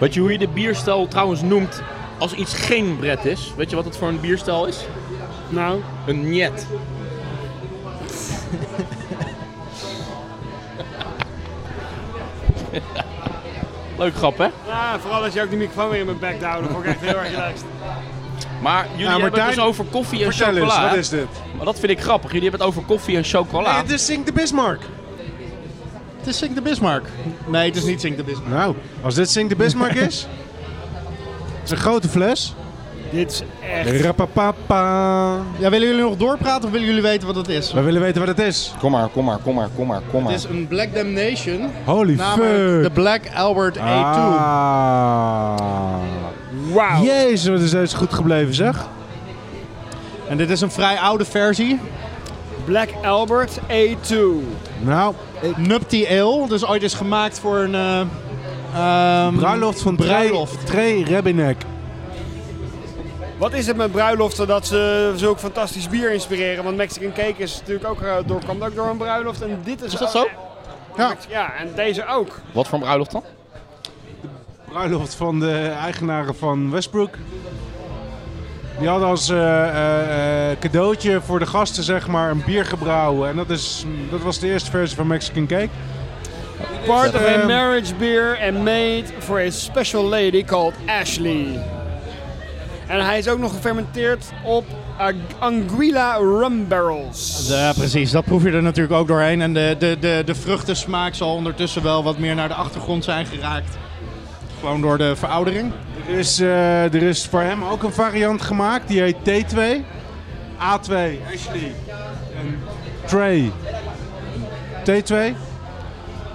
Weet je hoe je de bierstel trouwens noemt als iets geen bret is? Weet je wat het voor een bierstel is? nou... Een njet. Leuk grap, hè? Ja, Ah, vooral dat je ook die microfoon weer in mijn bek te houden, vond ik echt heel erg relaxed. Maar jullie Nou, Martijn, hebben het dus over koffie en Vertel eens, chocola. wat hè? is dit? Maar dat vind ik grappig. Jullie hebben het over koffie en chocola. Nee, dit is Sink de Bismarck. Het is Sink de Bismarck. Nee, het is niet Sink de Bismarck. Nou, als dit Sink de Bismarck is... Het is een grote fles. Dit is echt... Rapapapa. Ja, willen jullie nog doorpraten of willen jullie weten wat het is? We willen weten wat het is. Kom maar, kom maar, kom maar, kom maar, kom Het is een Black Damnation. Holy Namelijk de fuck. Black Albert A2. Ah. Wauw. Jezus, wat is deze goed gebleven zeg. En dit is een vrij oude versie. Black Albert A2. Nou, Nupty Ale. Dus ooit is gemaakt voor een... eh, ehm, bruiloft van bruiloft. Trey Rebinek. Wat is het met bruiloften dat ze zulk fantastisch bier inspireren? Want Mexican Cake is natuurlijk ook eh, door, komt ook door een bruiloft. En dit is, Is dat zo? Ja. ja, en deze ook. Wat voor een bruiloft dan? Bruiloft van de eigenaren van Westbrook. Die hadden als eh, eh, eh, cadeautje voor de gasten zeg maar een bier gebrouwen. En dat, is, dat was de eerste versie van Mexican Cake. Part of a Ehm. marriage beer and made for a special lady called Ashley. En hij is ook nog gefermenteerd op Ag- Anguilla rum barrels. Ja, precies. Dat proef je er natuurlijk ook doorheen. En de, de, de, de vruchtensmaak zal ondertussen wel wat meer naar de achtergrond zijn geraakt. Gewoon door de veroudering. Ik Er is, eh, er is voor hem ook een variant gemaakt. Die heet T2. A2, Ashley. En Trey. T2.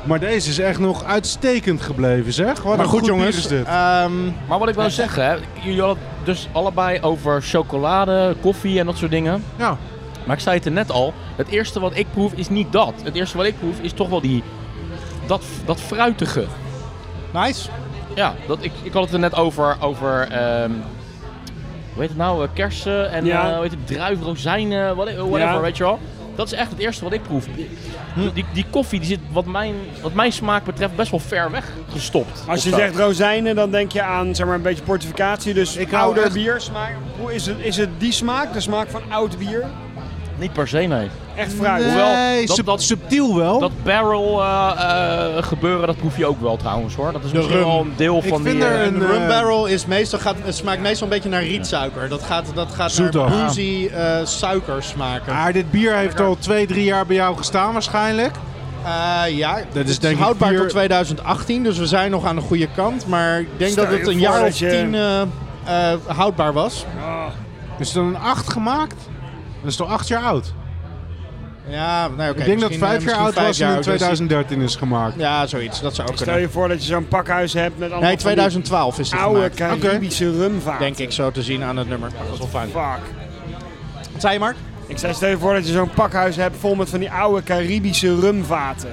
Maar deze is echt nog uitstekend gebleven, zeg. Wat Maar een goed, bier jongens. is dit. ehm, Maar wat ik wil zeggen, hè, jullie hadden het dus allebei over chocolade, koffie en dat soort dingen. Ja. Maar ik zei het er net al, het eerste wat ik proef is niet dat. Het eerste wat ik proef is toch wel die, dat, dat fruitige. nice. Ja, dat, ik, ik had het er net over, over ehm, hoe heet het nou, eh, kersen en Ja. eh, hoe heet het, druiven, rozijnen, whate- whatever, Ja. weet je wel. Dat is echt het eerste wat ik proef. Die, die koffie die zit wat mijn, wat mijn smaak betreft best wel ver weg gestopt. Als je Of zo. zegt rozijnen, dan denk je aan zeg maar, een beetje portificatie. Dus hou ouder echt- bier smaak. Hoe is het, is het die smaak? De smaak van oud bier? Niet per se, nee. Echt fruit. Hoewel, nee, dat- sub- dat- subtiel wel. Dat barrel eh, eh, gebeuren, dat proef je ook wel trouwens hoor. Dat is misschien rum. wel een deel Ik van vind die... eh, er een, Een eh, rum barrel is meestal, gaat, het smaakt meestal een beetje naar rietsuiker. Dat gaat, dat gaat naar Zoet Ah, ook. boozy eh suiker smaken. Maar dit bier heeft al twee, drie jaar bij jou gestaan waarschijnlijk. Eh, ja, denk het is ik houdbaar vier- tot 2018, dus we zijn nog aan de goede kant. Maar ik denk Stel dat het je een voor jaar dat of je- tien eh, eh, houdbaar was. Is er dan een 8 gemaakt? Dat is toch 8 jaar oud? Ja, nou, oké, ik denk dat misschien, eh, 5 jaar misschien oud vijf was en in dus- 2013 is gemaakt. ja, zoiets. Dat zou ook Stel kunnen. je voor dat je zo'n pakhuis hebt met allemaal Nee, 2012 is van het die oude gemaakt. Caribische rumvaart. Denk ik zo te zien aan het nummer. Dat is wel fijn. Fuck. Wat zei je, Mark? Ik zei, stel je voor dat je zo'n pakhuis hebt vol met van die oude Caribische rumvaten.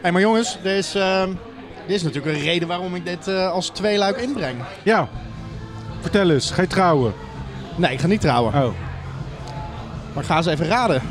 Hey, maar jongens, er is, ehm, dit is natuurlijk een reden waarom ik dit eh, als tweeluik inbreng. Ja. Vertel eens, ga je trouwen? Nee, ik ga niet trouwen. Oh. Maar ga eens even raden.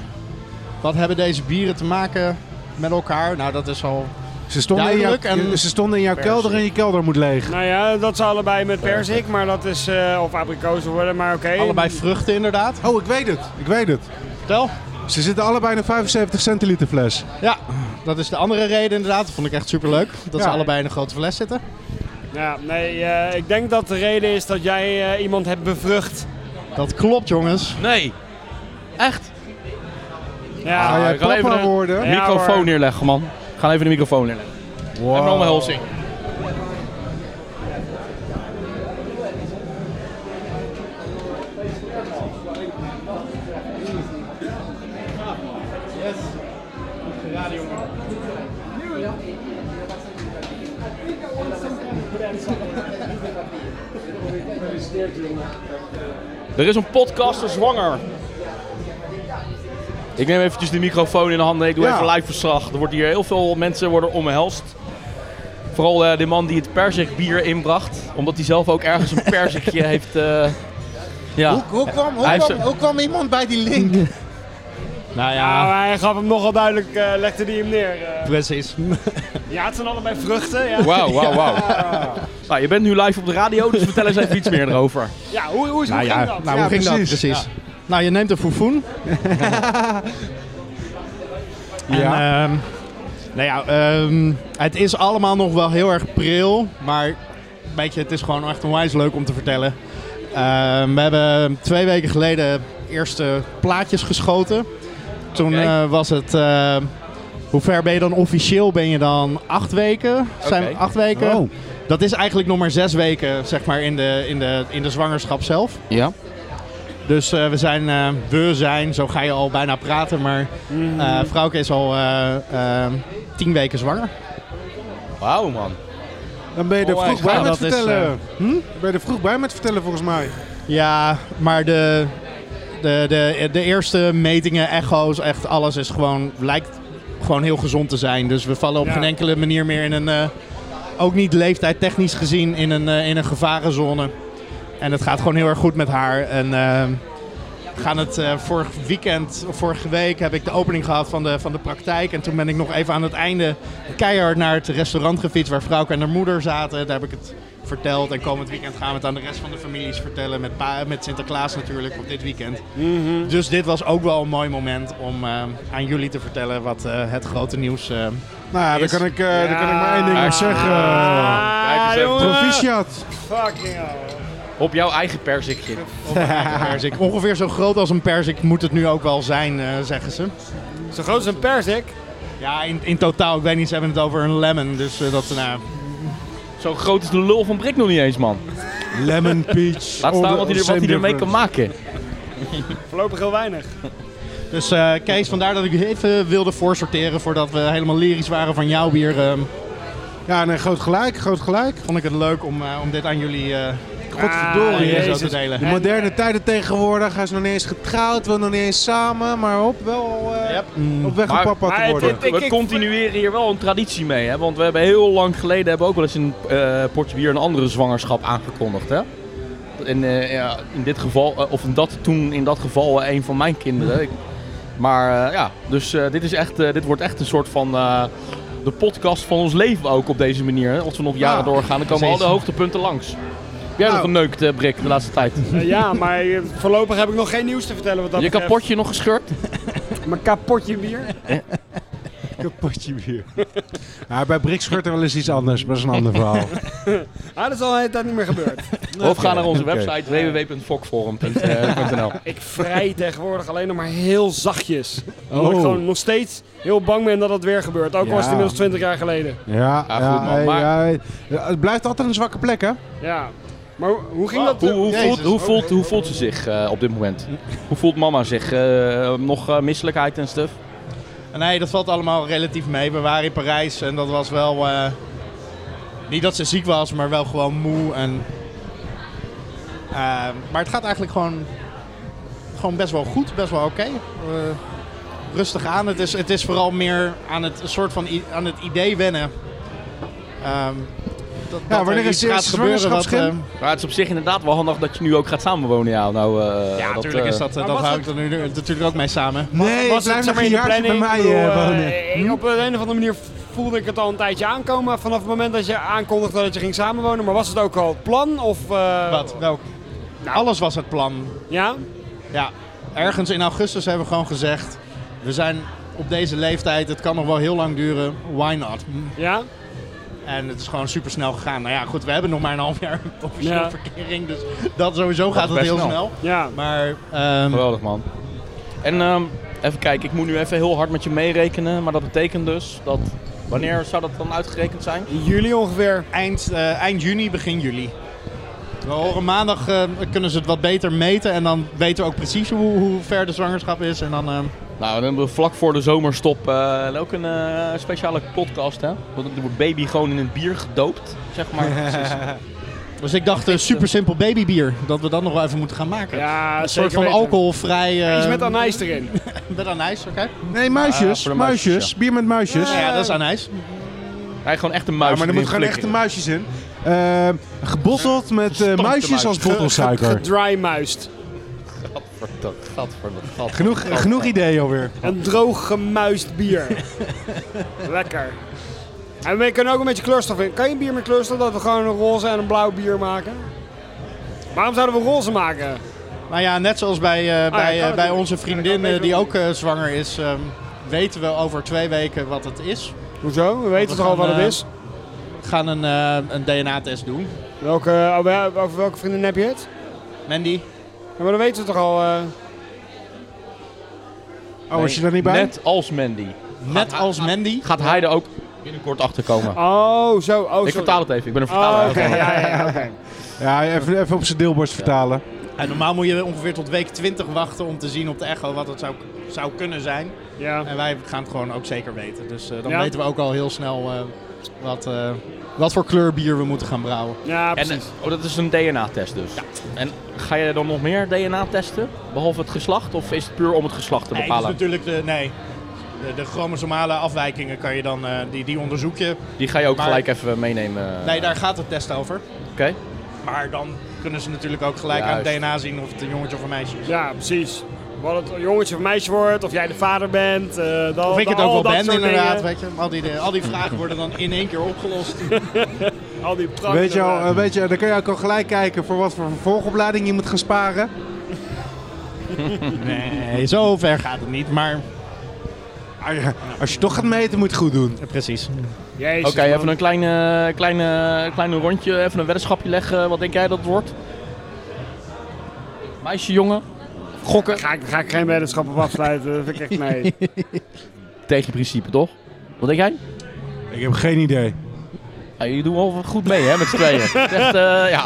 Wat hebben deze bieren te maken met elkaar? Nou, dat is al... Ze stonden, in jouw, Duidelijk en- ze stonden in jouw kelder en je kelder moet leeg. Nou ja, dat zijn allebei met perzik, maar dat is, eh, of abrikozen worden, maar oké. Allebei vruchten inderdaad. Oh, ik weet het. Ik weet het. Vertel. Ze zitten allebei in een 75 centiliter fles. Ja, dat is de andere reden inderdaad. Dat vond ik echt superleuk. Dat ze Ja. allebei in een grote fles zitten. Ja, nee, eh, ik denk dat de reden is dat jij eh, iemand hebt bevrucht. Dat klopt, jongens. Nee. Echt? Ja, Ah, Ga jij ik wil even papa een- worden? Ja, microfoon hoor. neerleggen man. We gaan even de microfoon neerleggen. Wow. Even een omhelzing. Er is een podcaster zwanger. Ik neem eventjes de microfoon in de handen. Ik doe Ja. even live verslag. Er wordt hier heel veel mensen worden omhelst. Vooral eh, de man die het perzikbier inbracht. Omdat hij zelf ook ergens een perzikje heeft... eh, ja. kwam, Hij heeft kwam- ze- iemand bij die link? Nou Ja, maar hij gaf hem nogal duidelijk, eh, legde die hem neer. eh. precies. ja, het zijn allebei vruchten, ja. Wauw, wauw, wauw. Nou, je bent nu live op de radio, dus vertel eens even iets meer erover. Ja, hoe, hoe, is hoe Nou ja, ging nou, dat? hoe Ja, ging precies. dat precies? Nou, je neemt een foefoen. Ja. En, ehm, nou ja, ehm, het is allemaal nog wel heel erg pril. Maar weet je, het is gewoon echt onwijs leuk om te vertellen. Ehm, we hebben twee weken geleden eerste plaatjes geschoten. Toen Oké. eh, was het... eh, hoe ver ben je dan officieel? Ben je dan acht weken? Zijn we Oké. acht weken? Oh. Dat is eigenlijk nog maar zes weken, zeg maar, in de, in de, in de zwangerschap zelf. Ja. Dus eh, we zijn, eh, we zijn, zo ga je al bijna praten, maar Mm. eh vrouwke is al eh, eh, tien weken zwanger. Wauw, man. Dan ben je er Oh, vroeg hij bij gaat- met dat is, vertellen. eh, Hm? Ben je er vroeg bij met vertellen volgens mij. Ja, maar de, de, de, de eerste metingen, echo's, echt alles is gewoon, lijkt gewoon heel gezond te zijn. Dus we vallen op Ja. geen enkele manier meer in een, eh, ook niet leeftijdtechnisch gezien, in een, eh, in een gevarenzone. En het gaat gewoon heel erg goed met haar. En ehm, we gaan het eh, vorig weekend, of vorige week heb ik de opening gehad van de, van de praktijk. En toen ben ik nog even aan het einde keihard naar het restaurant gefietst waar vrouwke en haar moeder zaten. Daar heb ik het verteld. En komend weekend gaan we het aan de rest van de families vertellen. Met, pa, met Sinterklaas natuurlijk, op dit weekend. Dus dit was ook wel een mooi moment om eh, aan jullie te vertellen wat eh, het grote nieuws eh Nou, ja, Is- dan kan ik, eh, dan kan ik maar één ding Ja. op zeggen. Kijk Ah, eens even. jongen. Proficiat. Fucking hell. Op jouw eigen perzikje. perzik. Ongeveer zo groot als een perzik moet het nu ook wel zijn, eh, zeggen ze. Zo groot als een perzik. Ja, in, in totaal. Ik weet niet, ze hebben het over een lemon. Dus eh, dat, nou, Zo groot is de lul van Brik nog niet eens, man. Lemon peach. Laat staan wat hij, er- wat hij ermee kan maken. maken. Voorlopig heel weinig. Dus eh, Kees, vandaar dat ik u even wilde voorsorteren voordat we helemaal lyrisch waren van jouw bier. ehm, Ja, nee, groot gelijk, groot gelijk. vond ik het leuk om, eh, om dit aan jullie eh, Godverdorie. eh, hè. zo Jezus. te delen. de moderne tijden tegenwoordig. Hij is nog niet eens getrouwd, wil nog niet eens samen. Maar op, wel eh, op weg om Maar- papa maar te het- worden. het- Ik- We ik- continueren hier wel een traditie mee, hè? Want we hebben heel lang geleden hebben we ook wel eens een eh, potje bier een andere zwangerschap aangekondigd, hè? In, eh, ja, in dit geval, eh, of in dat, toen in dat geval eh, een van mijn kinderen. Ik- maar eh, ja, dus eh, dit, is echt, eh, dit wordt echt een soort van eh, de podcast van ons leven ook op deze manier. Hè? Als we nog jaren Ah, doorgaan, dan komen al precies. de hoogtepunten langs. Heb jij nog Nou. geneukt, eh, Brik, de laatste tijd? Eh, ja, maar eh, voorlopig heb ik nog geen nieuws te vertellen wat dat Je betreft. kapotje nog gescheurd? Mijn kapotje bier. Een potje bier. Ja, bij Brik scheurt er wel eens iets anders, maar dat is een ander verhaal. Ah, dat is al een hele tijd niet meer gebeurd. Of ga naar onze Oké. website www.fokforum.nl. ik vrij tegenwoordig alleen nog maar heel zachtjes. Omdat ik Oh. gewoon nog steeds heel bang ben dat dat weer gebeurt. Ook al Ja. was het inmiddels 20 jaar geleden. Ja, Ja, ja, goed, man, hey, maar- ja, hey. Ja, het blijft altijd een zwakke plek, hè? Ja. Maar hoe- hoe Oh. ging dat? Hoe, hoe, Jezus. voelt, hoe, voelt, hoe voelt ze zich eh, op dit moment? Hoe voelt mama zich? Eh, nog eh, misselijkheid en stuff? Nee, dat valt allemaal relatief mee. We waren in Parijs en dat was wel. eh, niet dat ze ziek was, maar wel gewoon moe. En, eh, maar het gaat eigenlijk gewoon, gewoon best wel goed, best wel oké. Eh, rustig aan. Het is, het is vooral meer aan het, een soort van i- aan het idee wennen. Ehm, dat, dat er wanneer is iets de gaat eerste gebeuren wat, zwangerschapsgym? eh, Maar het is op zich inderdaad wel handig dat je nu ook gaat samenwonen. Ja, nou, eh, ja, dat, natuurlijk eh, is dat. eh, Maar dat was hou ik er nu natuurlijk ook mee samen. Nee, was blijf het, zeg nog maar, een in de jaartje bij planning? mij Ik bedoel, eh, eh, wonen. ik- Op de een of andere manier voelde ik het al een tijdje aankomen. Vanaf het moment dat je aankondigde dat je ging samenwonen. Maar was het ook al het plan? Of, eh, Wat? Welk? Alles was het plan. Ja? Ja, ergens in augustus hebben we gewoon gezegd: we zijn op deze leeftijd, het kan nog wel heel lang duren, why not? Ja? En het is gewoon super snel gegaan. Nou ja, goed, we hebben nog maar een half jaar officieel Ja. verkering, dus dat sowieso gaat het best heel snel. snel. Ja. Maar ehm, Geweldig, man. En ehm, even kijken, ik moet nu even heel hard met je meerekenen. Maar dat betekent dus dat... Wanneer zou dat dan uitgerekend zijn? In juli ongeveer. eind, eh, eind juni, begin juli. We horen maandag eh, kunnen ze het wat beter meten en dan weten we ook precies hoe, hoe ver de zwangerschap is. En dan, ehm, Nou, dan hebben we vlak voor de zomerstop eh, ook een eh, speciale podcast, hè? Want dan wordt baby gewoon in het bier gedoopt, zeg maar. dus ik dacht, eh, super simpel babybier, dat we dat nog wel even moeten gaan maken. Ja, een soort zeker van weten. alcoholvrij. eh, Iets met anijs erin. met anijs, oké. Nee, muisjes, voor de muisjes. muisjes, Bier met muisjes. Ja, dat is anijs. Hij gewoon echt een Ja, muis. maar er moeten gewoon echte muisjes in. Eh, gebotteld met eh, muisjes als bottelsuiker. Gedrymuist. muis. Genoeg, genoeg ideeën alweer. Een droog gemuist bier. Lekker. En we kunnen ook een beetje kleurstof in. Kan je bier met kleurstof dat we gewoon een roze en een blauw bier maken? Waarom zouden we roze maken? Maar ja, net zoals bij, eh, bij, eh, het bij doen. onze Ja, dat vriendin kan eh, ik die doen. ook eh, zwanger is, ehm, weten we over twee weken wat het is. Hoezo? We weten We toch al gaan, wat het eh, is? We gaan een, eh, een DNA-test doen. Welke, oh, wel- over welke vrienden heb je het? Mandy? Ja, maar dan weten we toch al. eh, Oh, was je daar niet bij? Net als Mandy. Net als Mandy. Gaat hij er ook binnenkort achter komen? Oh, zo. Oh, sorry. ik vertaal het even, ik ben een vertaler. Oh, oké. Ja, ja, ja, oké. Ja, even, even op zijn deelborst vertalen. En normaal moet je ongeveer tot week 20 wachten om te zien op de echo wat het zou, zou kunnen zijn. Ja. En wij gaan het gewoon ook zeker weten. Dus eh, dan Ja. weten we ook al heel snel eh, wat, eh, wat voor kleur bier we moeten gaan brouwen. ja, En, precies. oh, dat is een DNA-test dus. En ga je dan nog meer DNA testen? Behalve het geslacht? Of is het puur om het geslacht te Nee, het is bepalen? natuurlijk de, nee, de, de chromosomale afwijkingen kan je dan, eh, die, die onderzoek je. Die ga je ook Maar- gelijk even meenemen. Nee, daar gaat het test over. Oké. Maar dan kunnen ze natuurlijk ook gelijk aan Juist. het DNA zien of het een jongetje of een meisje is. Ja, precies. Wat het een jongetje of meisje wordt, of jij de vader bent. eh dat, Of ik het al ook wel dat ben soort inderdaad, dingen. weet je. Al die, al die vragen worden dan in één keer opgelost. Al die prachtige. Weet je, al, eh, weet je, dan kun je ook al gelijk kijken voor wat voor vervolgopleiding je moet gaan sparen. Nee, zo ver gaat het niet, maar... Ah, ja, Als je toch gaat meten, moet je het goed doen. Precies. Jezus, Oké, man. even een kleine, kleine, kleine rondje, even een weddenschapje leggen. Wat denk jij dat het wordt? Meisje, jongen? Gokken? Ga ik, ga ik geen weddenschap op afsluiten, dat vind ik echt nee. Tegen je principe, toch? Wat denk jij? Ik heb geen idee. Ja, jullie doen wel goed mee, hè, met z'n tweeën. Het is echt, eh, ja.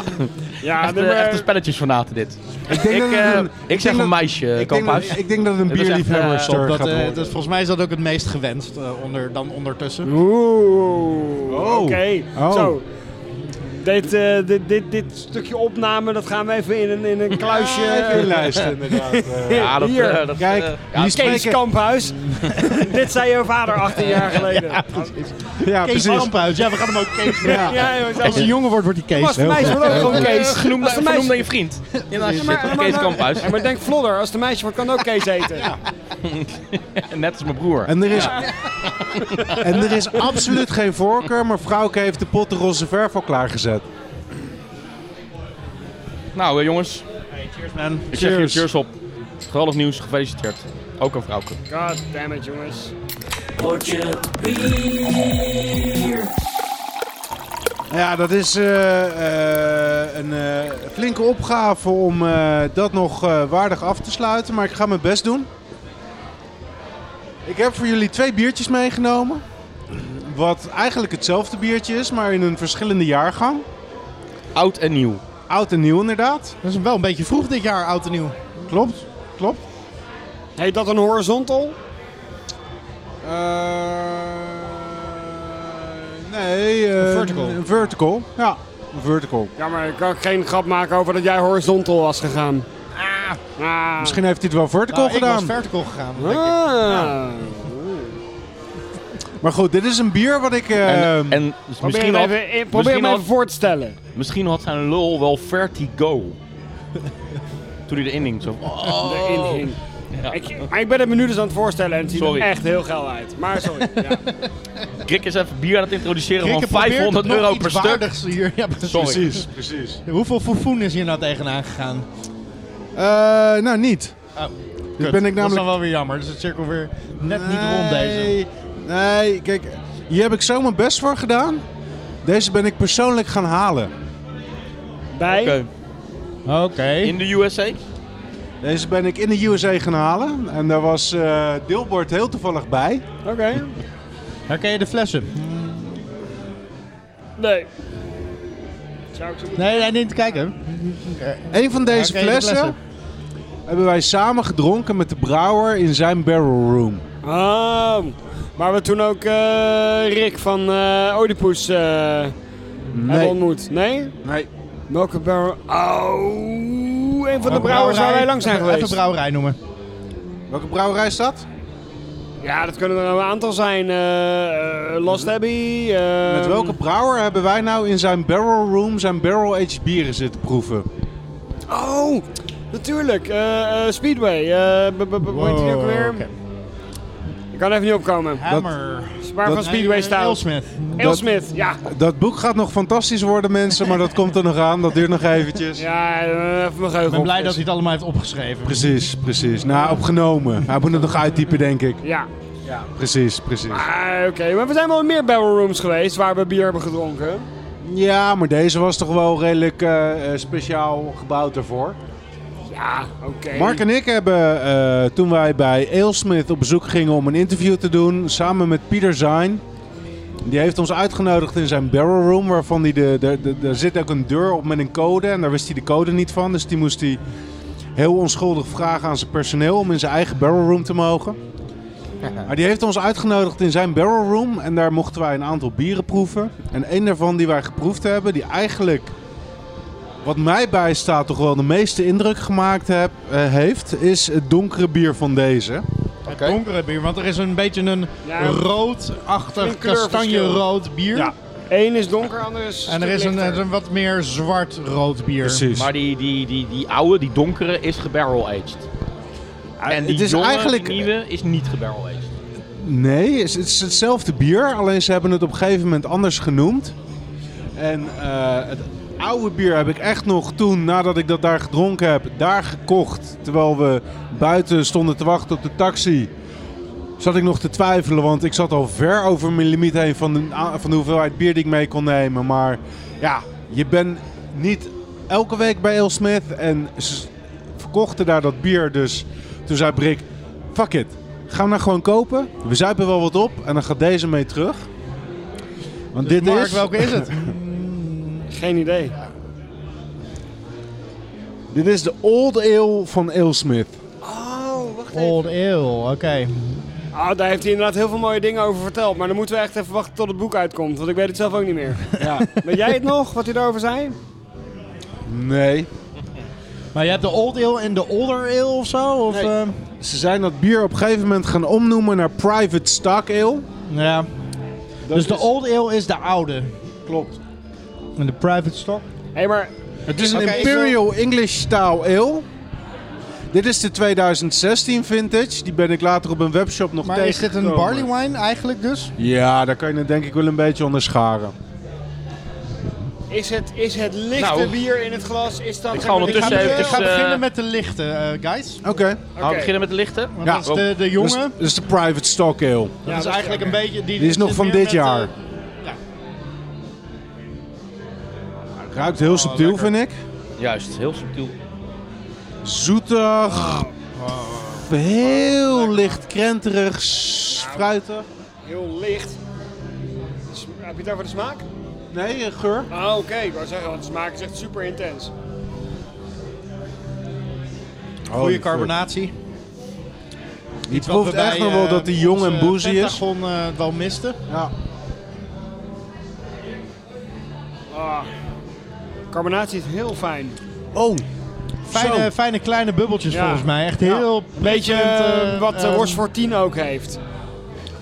Ja, echt, eh, nummer- echte spelletjesfanaten dit. Ik Ik, denk dat eh, het een- ik zeg denk een eh, dat- meisje, ik denk dat- Kamphuis. Ik denk dat het een Het is echt, eh, bierliefhebber Top, gaat dat, eh, worden. dat, volgens mij is dat ook het meest gewenst eh, onder, dan ondertussen. Oeh, Oh. oké. Oh. Zo. Dit, eh, dit, dit, dit stukje opname, dat gaan we even in een, in een kluisje... Ja, even inlijsten, inderdaad. eh. Ja, dat, Hier, eh, dat, kijk, eh, die ja, is- Kees Spreken- Kamphuis. dit zei je vader 18 jaar geleden. Ja, Ja, Kees precies. Kamphuis, ja, we gaan hem ook Kees noemen. Ja. joh, Als hij zelfs- jonger wordt, wordt hij Kees. Mas de meisje wordt ook Oh, gewoon eh, Kees. genoemd, Als de vernoemd meisje- naar je vriend. Ja, nou, shit, maar- maar- Kees Kamphuis. Ja, maar denk vlodder, als de meisje wordt, kan ook Kees eten. Net als mijn broer. En er, is, en er is absoluut geen voorkeur, maar Vrouwke heeft de pot de roze verf al klaargezet. Nou eh, jongens, Cheers, man. ik zeg je Cheers. cheers op. Geweldig nieuws, gefeliciteerd. Ook een vrouwke. God damn it, jongens. Ja, dat is eh, eh, een eh, flinke opgave om eh, dat nog eh, waardig af te sluiten, maar ik ga mijn best doen. Ik heb voor jullie twee biertjes meegenomen. Wat eigenlijk hetzelfde biertje is, maar in een verschillende jaargang. Oud en nieuw. Oud en nieuw inderdaad. Dat is wel een beetje vroeg dit jaar, oud en nieuw. Klopt, klopt. Heet dat een horizontal? Eh, nee, eh, Een vertical. Een vertical, ja. Een vertical. Ja, maar ik kan geen grap maken over dat jij horizontal was gegaan. Ah. Misschien heeft hij het wel vertical Nou, ik was gedaan. vertical gegaan. Ah. Maar goed, dit is een bier wat ik... eh, En, en Probeer, misschien, hem had, even, eh, probeer misschien, hem even had, voor te stellen. misschien had zijn lul wel vertigo. Toen hij erin hing. Zo, van, oh. Erin hing. Ik, maar ik ben het me nu dus aan het voorstellen en het ziet Sorry. er echt heel geil uit. Maar sorry. ja. Krik is even bier aan het introduceren Krikke van probeert 500 nog euro iets per stuk. waardigs Hier. Ja, precies. Sorry. Precies, precies. Hoeveel foefoen is hier nou tegenaan gegaan? Eh, nou, niet. Oh, Dus Dat ben ik is namelijk... dan wel weer jammer. Dus het cirkel weer net niet rond deze. Nee, Nee, kijk, hier heb ik zo mijn best voor gedaan. Deze ben ik persoonlijk gaan halen. Bij? Oké. Oké. In de USA? Deze ben ik in de USA gaan halen. En daar was eh Dilbert heel toevallig bij. Oké. Herken je de flessen? Nee. Zou ik zo moeten- Nee, nee, niet te kijken. Een van deze Herken je de flessen, flessen? hebben wij samen gedronken met de brouwer in zijn barrel room. Ah, maar we toen ook eh, Rick van eh Oedipus eh, hebben ontmoet. Nee? nee. Welke brouwer? Oh, een van de Welke brouwers waar brouwerij? wij lang zijn Even- geweest. Even brouwerij noemen. Welke brouwerij is dat? Ja, dat kunnen er een aantal zijn. Eh, eh, Lost Abbey. eh, Met welke brouwer hebben wij nou in zijn barrel room zijn barrel-aged bieren zitten proeven? Oh, natuurlijk. eh, eh, Speedway. eh, b- b- b- Hoe heet die ook weer? Oh, oké. Ik kan even niet opkomen. Hammer. eh, Spaar van Speedway Stout. Smith. Elsmith, ja. Dat boek gaat nog fantastisch worden, mensen, maar dat komt er nog aan. Dat duurt nog eventjes. Ja, eh, even mijn geheugen Ik ben blij op. dat hij het allemaal heeft opgeschreven. Precies, precies. Nou, opgenomen. Hij moet het nog uittypen, denk ik. Ja. Precies, precies. Ah, Oké, maar we zijn wel in meer barrel rooms geweest waar we bier hebben gedronken. Ja, maar deze was toch wel redelijk eh, eh, speciaal gebouwd daarvoor. Ja, oké. Mark en ik hebben, eh, toen wij bij Ailsmith op bezoek gingen om een interview te doen, samen met Pieter Zijn. Die heeft ons uitgenodigd in zijn barrel room, waarvan hij de, de, de- daar zit ook een deur op met een code. En daar wist hij de code niet van, dus die moest hij heel onschuldig vragen aan zijn personeel om in zijn eigen barrel room te mogen. Maar die heeft ons uitgenodigd in zijn barrel room en daar mochten wij een aantal bieren proeven. En één daarvan die wij geproefd hebben, die eigenlijk wat mij bijstaat toch wel de meeste indruk gemaakt heb, eh, heeft, is het donkere bier van deze. Het donkere bier, want er is een beetje een Ja. roodachtig, Een kleurverschil. kastanjerood bier. Ja. Eén is donker, ander is. En er is een, eh, een wat meer zwart-rood bier. Maar die, die, die, die oude, die donkere, is gebarrel-aged. En Ah, die het is jonge, eigenlijk. die nieuwe, is niet gebarrel-aged. Nee, het is, het is hetzelfde bier, alleen ze hebben het op een gegeven moment anders genoemd. En eh, het oude bier heb ik echt nog toen, nadat ik dat daar gedronken heb, daar gekocht. Terwijl we buiten stonden te wachten op de taxi. Zat ik nog te twijfelen, want ik zat al ver over mijn limiet heen van de, van de hoeveelheid bier die ik mee kon nemen. Maar ja, je bent niet elke week bij Ailsmith. En ze verkochten daar dat bier, dus toen zei Brik, fuck it. Gaan we nou gewoon kopen? We zuipen wel wat op en dan gaat deze mee terug. Want Dus dit Mark, is, welke is het? Geen idee. dit is de Old Ale van Alesmith. Oh, wacht Old Ale, oké. Ah, daar heeft hij inderdaad heel veel mooie dingen over verteld. Maar dan moeten we echt even wachten tot het boek uitkomt. Want ik weet het zelf ook niet meer. Ja. Weet jij het nog, wat hij daarover zei? Nee. Maar je hebt de Old Ale en de Older Ale of zo? Of, Nee. ehm, Ze zijn dat bier op een gegeven moment gaan omnoemen naar Private Stock Ale. ja. Dat dus de is- Old Ale is de oude. Klopt. En de Private Stock? Hé, maar Het is een Oké, ik wil- Imperial English Style Ale. Dit is de 2016 vintage. Die ben ik later op een webshop nog Maar is dit tegengekomen. een barley wine eigenlijk dus? Ja, daar kan je het denk ik wel een beetje onder scharen. is het, is het lichte Nou, bier in het glas? Is dat ik ga ondertussen Ik Dus ga, be- even, ik ga eh, beginnen met de lichte, eh, guys. Oké. Gaan we beginnen met de lichten? Want Ja, dat is de, de jonge. Dat is- Dat is Dus- de Private Stock Ale. dat is eigenlijk een beetje... Die, Die is nog zit van meer dit met, jaar. eh, ja. Ruikt heel subtiel, Oh, lekker. vind ik. Juist, heel subtiel. Zoetig. Oh, Heel licht krenterig, s- fruitig. Heel licht. Sm- Heb je het over de smaak? Nee, eh, geur. Ah, oké. Ik wou zeggen, want de smaak is echt super intens. Goede carbonatie. Je Wat proeft we bij, echt nog wel eh, dat hij jong onze en boozy is. Pentagon eh, het wel miste. Ja. Ah. Carbonatie is heel fijn. Oh, Fijne, fijne kleine bubbeltjes Ja. volgens mij. Echt Ja. heel... Beetje prikkelend, eh, wat de ehm, Ross 14 ook heeft.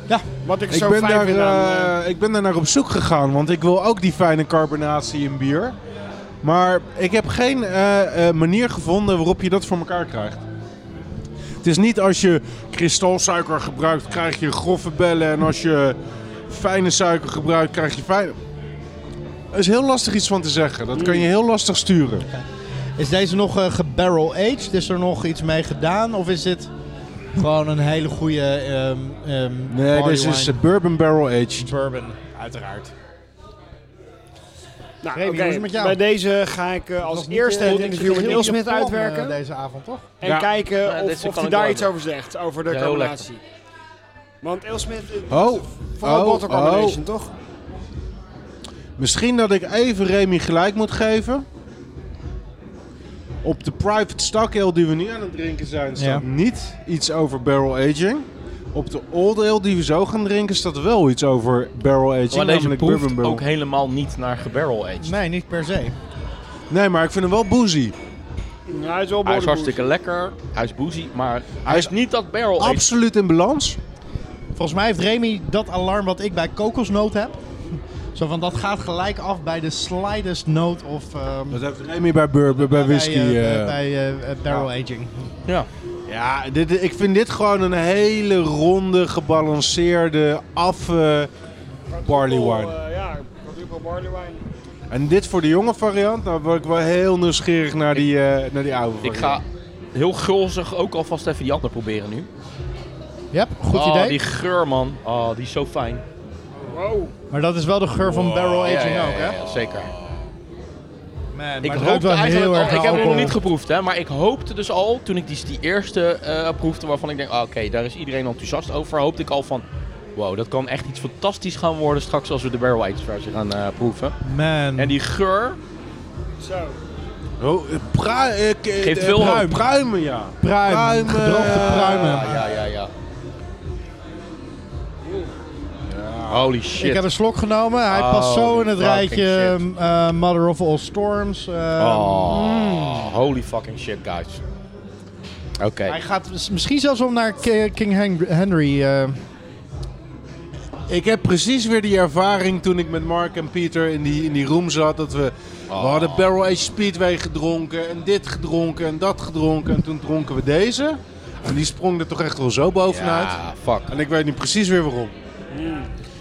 Ja. Wat ik, Ik zo ben, fijn daar, vind aan... eh, eh, ik ben daar naar op zoek gegaan, want ik wil ook die fijne carbonatie in bier. Maar ik heb geen eh, eh, manier gevonden waarop je dat voor elkaar krijgt. Het is niet als je kristalsuiker gebruikt, krijg je grove bellen. En als je fijne suiker gebruikt, krijg je fijne... Er is heel lastig iets van te zeggen. Dat kan je heel lastig sturen. Is deze nog eh, gebarrel-aged? Is er nog iets mee gedaan? Of is dit gewoon een hele goede ehm ehm, Nee, barley dit is wine? eh, Bourbon Barrel Aged. bourbon, uiteraard. nou, Remy, oké, hoe is het met jou? bij deze ga ik eh, als eerste het interview met eh, Neil Smit uitwerken. deze avond, toch? En Ja. kijken Ja, dit of, kan of hij ik daar wel iets doen. over zegt, over de Ja, heel carbonatie. Want Ailsmith, eh, Oh, vooral oh, water combination, toch? Misschien dat ik even Remy gelijk moet geven. Op de private stock ale die we nu aan het drinken zijn, staat Ja. niet iets over barrel aging. Op de old ale die we zo gaan drinken, staat wel iets over barrel aging. Maar deze namelijk bourbon proeft barrel. ook helemaal niet naar gebarrel aged. Nee, niet per se. Nee, maar ik vind hem wel boozy. Ja, hij is wel Hij is borderproof. hartstikke lekker, hij is boozy, maar hij is is niet dat barrel aged. Absoluut in balans. Volgens mij heeft Remy dat alarm wat ik bij kokosnoot heb. Zo van, dat gaat gelijk af bij de slightest note of... ehm, Dat heeft Remy bij, bourbon, bij whisky. Bij, eh, eh. bij eh, eh, barrel aging. Ja. Ja, dit, ik vind dit gewoon een hele ronde, gebalanceerde, affe barley Triple, wine. eh, ja, quadruple barley wine. En dit voor de jonge variant, nou word ik wel heel nieuwsgierig naar die, eh, naar die oude Ik variant. ga heel gulzig ook alvast even die andere proberen nu. Ja, goed oh, idee. die geur man. Oh, die is zo fijn. Wow. Maar dat is wel de geur van barrel aging ook, hè? zeker. Man, Ik maar het hoopte ruikt wel eigenlijk heel al- erg ik naar heb hem nog alcohol. niet geproefd, hè, maar ik hoopte dus al, toen ik die, die eerste eh proefde, waarvan ik denk, ah, oké, daar is iedereen enthousiast over, hoopte ik al van, wow, dat kan echt iets fantastisch gaan worden straks als we de Barrel Aged versie gaan eh, proeven. Man. En die geur, Zo. Oh, eh, prui- eh, k- eh, Geeft veel pruim- hoop. Pruimen, ja. pruim. pruimen, Gedroogde eh, pruimen. ja, ja, ja, ja. Holy shit. Ik heb een slok genomen. Hij Oh, past zo in het fucking rijtje shit. eh, Mother of All Storms. eh, Oh, holy fucking shit, guys. Oké. Mm. Hij gaat s- misschien zelfs om naar K- King Hen- Henry. eh. Ik heb precies weer die ervaring toen ik met Mark en Pieter in die, in die room zat. Dat we, Oh. we hadden Barrel Age Speedway gedronken en dit gedronken en dat gedronken. En toen dronken we deze. En die sprong er toch echt wel zo bovenuit. Ja, fuck. En ik weet nu precies weer waarom.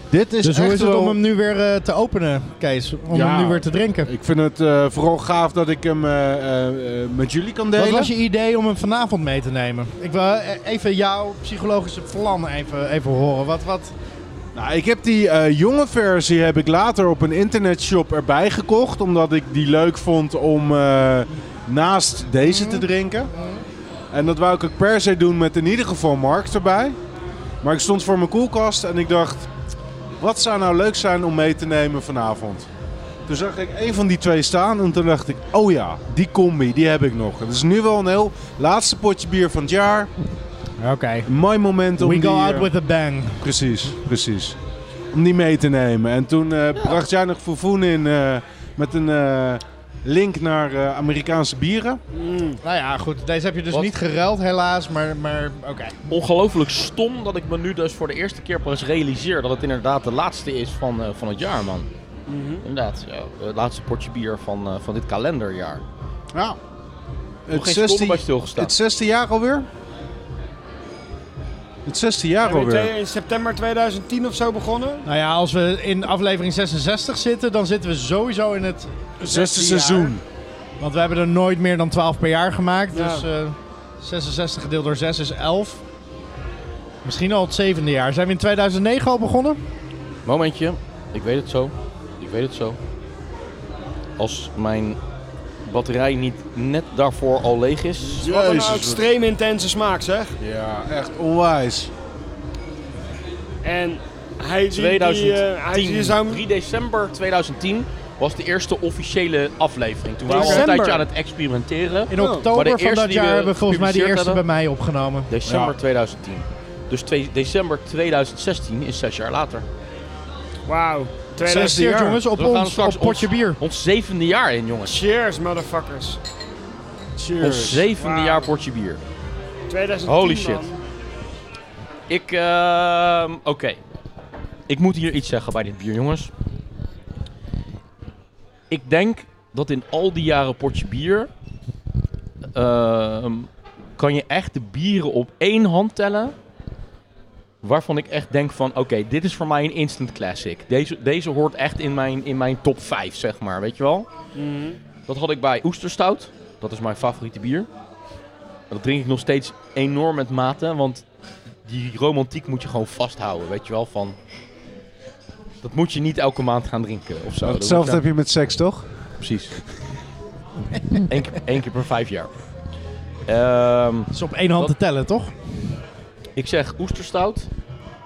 Dit is dus echt hoe is het wel- om hem nu weer eh, te openen, Kees? Om Ja. hem nu weer te drinken. Ik vind het eh, vooral gaaf dat ik hem eh, eh, eh, met jullie kan Wat delen. was je idee om hem vanavond mee te nemen? Ik wil eh, even jouw psychologische plan even, even horen. Wat, wat, Nou, ik heb die eh, jonge versie heb ik later op een internetshop erbij gekocht. Omdat ik die leuk vond om eh, naast deze Mhm. te drinken. En dat wou ik ook per se doen met in ieder geval Mark erbij. Maar ik stond voor mijn koelkast en ik dacht... Wat zou nou leuk zijn om mee te nemen vanavond? Toen zag ik een van die twee staan en toen dacht ik, oh ja, die combi, die heb ik nog. Het is nu wel een heel laatste potje bier van het jaar. Oké. Een mooi moment om We die... go out eh, with a bang. Precies, precies. Om die mee te nemen. En toen eh, bracht jij nog Fofoen in eh, met een eh, link naar eh, Amerikaanse bieren. Nou ja, goed. Deze heb je dus Wat? niet geruild helaas, maar, maar oké. Ongelooflijk stom dat ik me nu dus voor de eerste keer pas realiseer dat het inderdaad de laatste is van, eh, van het jaar, man. Mhm. Inderdaad, ja, het laatste potje bier van, eh, van dit kalenderjaar. Ja. Het geen seconde 16 bij stilgestaan. Het zesde jaar alweer? Het zesde jaar Zijn we twee- alweer. in september 2010 of zo begonnen. Nou ja, als we in aflevering 66 zitten, dan zitten we sowieso in het... Zesde jaar. seizoen. Want we hebben er nooit meer dan 12 per jaar gemaakt. Ja. Dus eh, 66 gedeeld door 6 is 11. Misschien al het zevende jaar. Zijn we in 2009 al begonnen? Momentje, ik weet het zo. Ik weet het zo. Als mijn batterij niet net daarvoor al leeg is. Wat een Jezus, extreem intense smaak zeg. Ja, echt onwijs. En hij die- die, eh, hij 2010, die zou 3 december 2010 was de eerste officiële aflevering. Toen waren we al een December. tijdje aan het experimenteren. Maar In Oh. de oktober van eerste dat die we jaar hebben we volgens mij de gepubliceerd eerste bij hebben- mij opgenomen. December Ja. 2010. Dus twee- december 2016 is zes jaar later. Dus Wauw. Zesde 2000. Gefeliciteerd, jaar. jongens op We gaan ons straks op potje ons- bier. Ons zevende jaar in, jongens. Cheers, motherfuckers. Ons zevende Wauw. jaar potje bier. 2010 Holy man. shit. Ik, ehm, oké. Ik moet hier iets zeggen bij dit bier, jongens. Ik denk dat in al die jaren potje bier... ehm, kan je echt de bieren op één hand tellen... waarvan ik echt denk van... oké, dit is voor mij een instant classic. Deze, deze hoort echt in mijn, in mijn top 5, zeg maar. Weet je wel? Dat had ik bij Oesterstout. Dat is mijn favoriete bier. Dat drink ik nog steeds enorm met mate, want die romantiek moet je gewoon vasthouden, weet je wel, van... Dat moet je niet elke maand gaan drinken of zo. Dat Hetzelfde moet heb je met seks, toch? je- Precies. Eén keer, één keer per vijf jaar. Ehm, Dat is op één hand Dat- te tellen, toch? ik zeg oesterstout.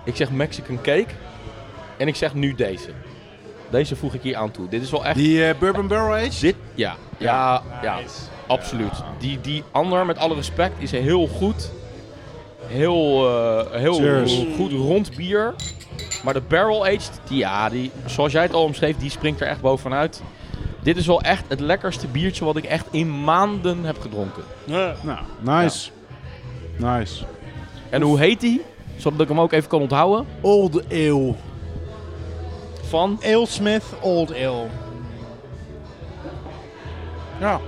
Ik zeg Mexican cake. En ik zeg nu deze. Deze voeg ik hier aan toe. Dit is wel echt... Die eh, Bourbon Barrel Age? Dit, ja. Ja, ja. Absoluut. Die, die ander, met alle respect, is heel goed. Heel, eh, heel Cheers. goed rond bier. Maar de barrel aged, die, ja, die, zoals jij het al omschreef, die springt er echt bovenuit. Dit is wel echt het lekkerste biertje wat ik echt in maanden heb gedronken. Ja. Nou, nice. Nice. En hoe heet die? Zodat ik hem ook even kan onthouden. Old Ale. Van Alesmith Old Ale. Ja.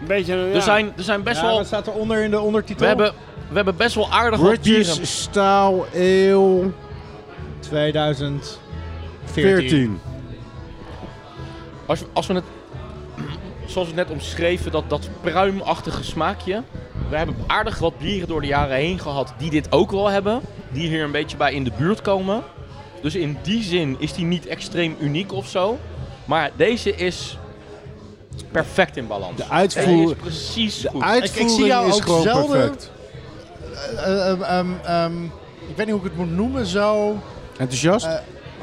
Een beetje een- ja. er, zijn, er zijn best Ja, wel. wat staat eronder in de ondertitel? We hebben, we hebben best wel aardig wat bieren. British Staal Ale 2014. 14. Als, we- als we het, zoals we het net omschreven, dat, dat pruimachtige smaakje. We hebben aardig wat bieren door de jaren heen gehad die dit ook wel hebben. Die hier een beetje bij in de buurt komen. Dus in die zin is die niet extreem uniek of zo. Maar deze is perfect in balans. De Deze is uitvoer... precies De goed. uitvoering Ik- ik zie jou is ook gewoon zelden- perfect. Eh, ehm, ik weet niet hoe ik het moet noemen, zo... Enthousiast? Eh,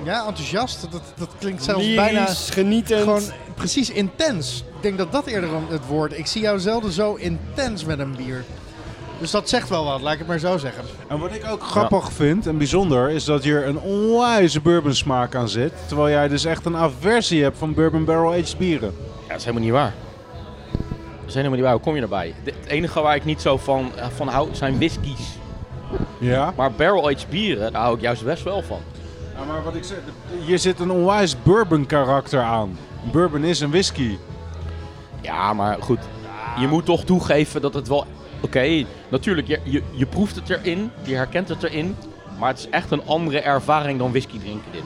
Ja, enthousiast. Dat, dat klinkt zelfs Lyrisch, bijna genietend. gewoon precies intens. Ik denk dat dat eerder een- het woord... Ik zie jou zelden zo intens met een bier. Dus dat zegt wel wat, laat ik het maar zo zeggen. en wat ik ook grappig vind en bijzonder is dat hier een onwijze bourbon smaak aan zit. Terwijl jij dus echt een aversie hebt van bourbon barrel aged bieren. Ja, dat is helemaal niet waar. Dat is helemaal niet waar. Hoe kom je erbij? De- Het enige waar ik niet zo van, eh, van hou zijn whiskies. Ja. Maar barrel-aged bieren, daar hou ik juist best wel van. maar wat ik zeg, hier zit een onwijs bourbon karakter aan. Bourbon is een whisky. Ja, maar goed. Je moet toch toegeven dat het wel... Oké, natuurlijk, je, je, je proeft het erin, je herkent het erin. Maar het is echt een andere ervaring dan whisky drinken dit.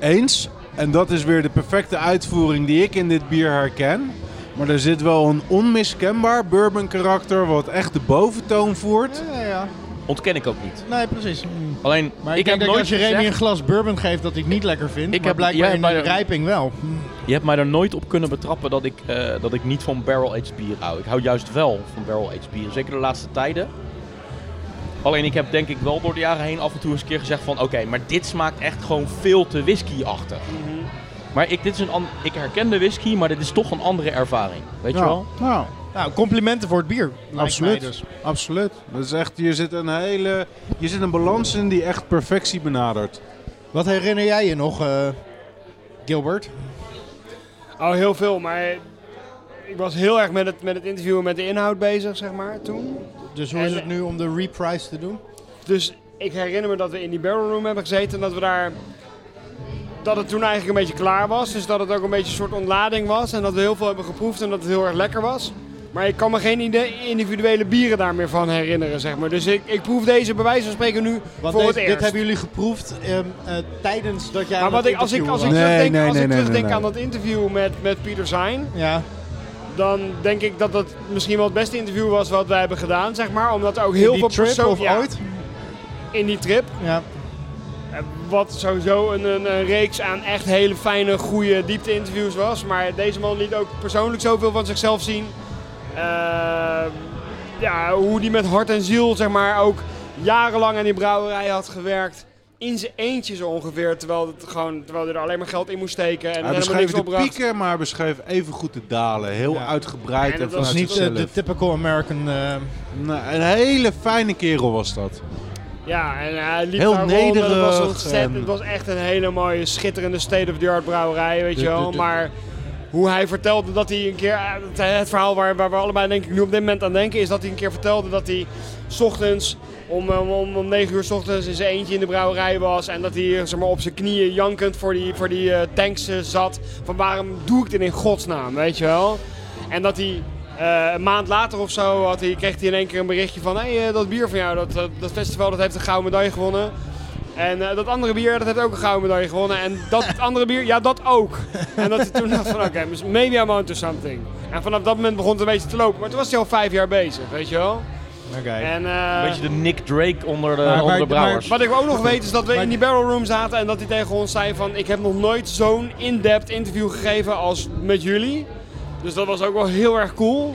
Eens. En dat is weer de perfecte uitvoering die ik in dit bier herken. Maar er zit wel een onmiskenbaar bourbon karakter wat echt de boventoon voert. Ja, ja. Ontken ik ook niet. Nee, precies. Mm. Alleen, Maar ik, ik, denk heb dat nooit als je Remy een gezegd, glas bourbon geeft dat ik niet lekker vind, Ik ik heb- maar heb, jij blijkbaar hebt in de bij de- rijping wel. je hebt mij er nooit op kunnen betrappen dat ik, eh, dat ik niet van barrel-aged bier hou. Ik hou juist wel van barrel-aged bier, zeker de laatste tijden. Alleen ik heb denk ik wel door de jaren heen af en toe eens een keer gezegd van... Oké, maar dit smaakt echt gewoon veel te whisky-achtig. Mhm. Maar ik, dit is een an- ik herken de whisky, maar dit is toch een andere ervaring. Weet je wel? Nou, Nou, complimenten voor het bier. lijkt absoluut. mij dus. Absoluut. Dat is echt, je zit een hele, je zit een balans in die echt perfectie benadert. Wat herinner jij je nog, eh, Gilbert? Oh, heel veel, maar ik was heel erg met het, met het interview en met de inhoud bezig, zeg maar, toen. Dus hoe En- is het nu om de reprise te doen? Dus ik herinner me dat we in die barrel room hebben gezeten en dat we daar... Dat het toen eigenlijk een beetje klaar was, dus dat het ook een beetje een soort ontlading was. En dat we heel veel hebben geproefd en dat het heel erg lekker was. Maar ik kan me geen ide- individuele bieren daar meer van herinneren, zeg maar. Dus ik, ik proef deze bij wijze van spreken nu Want voor deze- het eerst. dit hebben jullie geproefd ehm, eh, tijdens dat jij Maar aan wat het ik, als ik, als ik interviewen Nee, terugdenk, nee, als nee, ik nee, terugdenk nee, aan nee. dat interview met, met Pieter Zijn, was. Ja, dan denk ik dat dat misschien wel het beste interview was wat wij hebben gedaan, zeg maar. Omdat er ook heel die veel trip persoon- of ja, ooit? in die trip. Ja. Eh, Wat sowieso een, een, een reeks aan echt hele fijne, goede diepte-interviews was. Maar deze man liet ook persoonlijk zoveel van zichzelf zien. Eh, ja, hoe die met hart en ziel, zeg maar, ook jarenlang aan die brouwerij had gewerkt. In zijn eentje zo ongeveer, terwijl, het gewoon, terwijl hij er alleen maar geld in moest steken. En Hij helemaal beschreef niks de opbracht. pieken, maar hij beschreef even goed de dalen. Heel Ja. uitgebreid En en, dat was vanuit Dat is niet eh, zichzelf. de typical American. eh, Nou, een hele fijne kerel was dat. Ja, en hij liep Heel daar rond en het was, nederig ehm. ontzettend- en- het was echt een hele mooie, schitterende state-of-the-art brouwerij, weet je wel. Maar hoe hij vertelde dat hij een keer... eh, Het, het verhaal waar, waar we allebei denk ik nu op dit moment aan denken... is dat hij een keer vertelde dat hij 's ochtends om, eh, om, om, om 9 uur 's ochtends in zijn eentje in de brouwerij was. En dat hij zeg maar, op zijn knieën jankend voor die, voor die eh, tanks eh, zat. Van waarom doe ik dit in godsnaam, weet je wel. En dat hij... eh, een maand later of zo had hij, kreeg hij in één keer een berichtje van... Hé, hey, eh, dat bier van jou, dat, dat, dat festival, dat heeft een gouden medaille gewonnen. En eh, dat andere bier, dat heeft ook een gouden medaille gewonnen. En dat andere bier, ja, dat ook. En dat hij toen dacht van, oké, dus maybe I'm onto something. En vanaf dat moment begon het een beetje te lopen. Maar toen was hij al vijf jaar bezig, weet je wel. En, eh, Een beetje de Nick Drake onder de, maar- onder de maar- brouwers. wat ik ook nog weet is dat we in die barrel room zaten en dat hij tegen ons zei van... Ik heb nog nooit zo'n in-depth interview gegeven als met jullie. Dus dat was ook wel heel erg cool.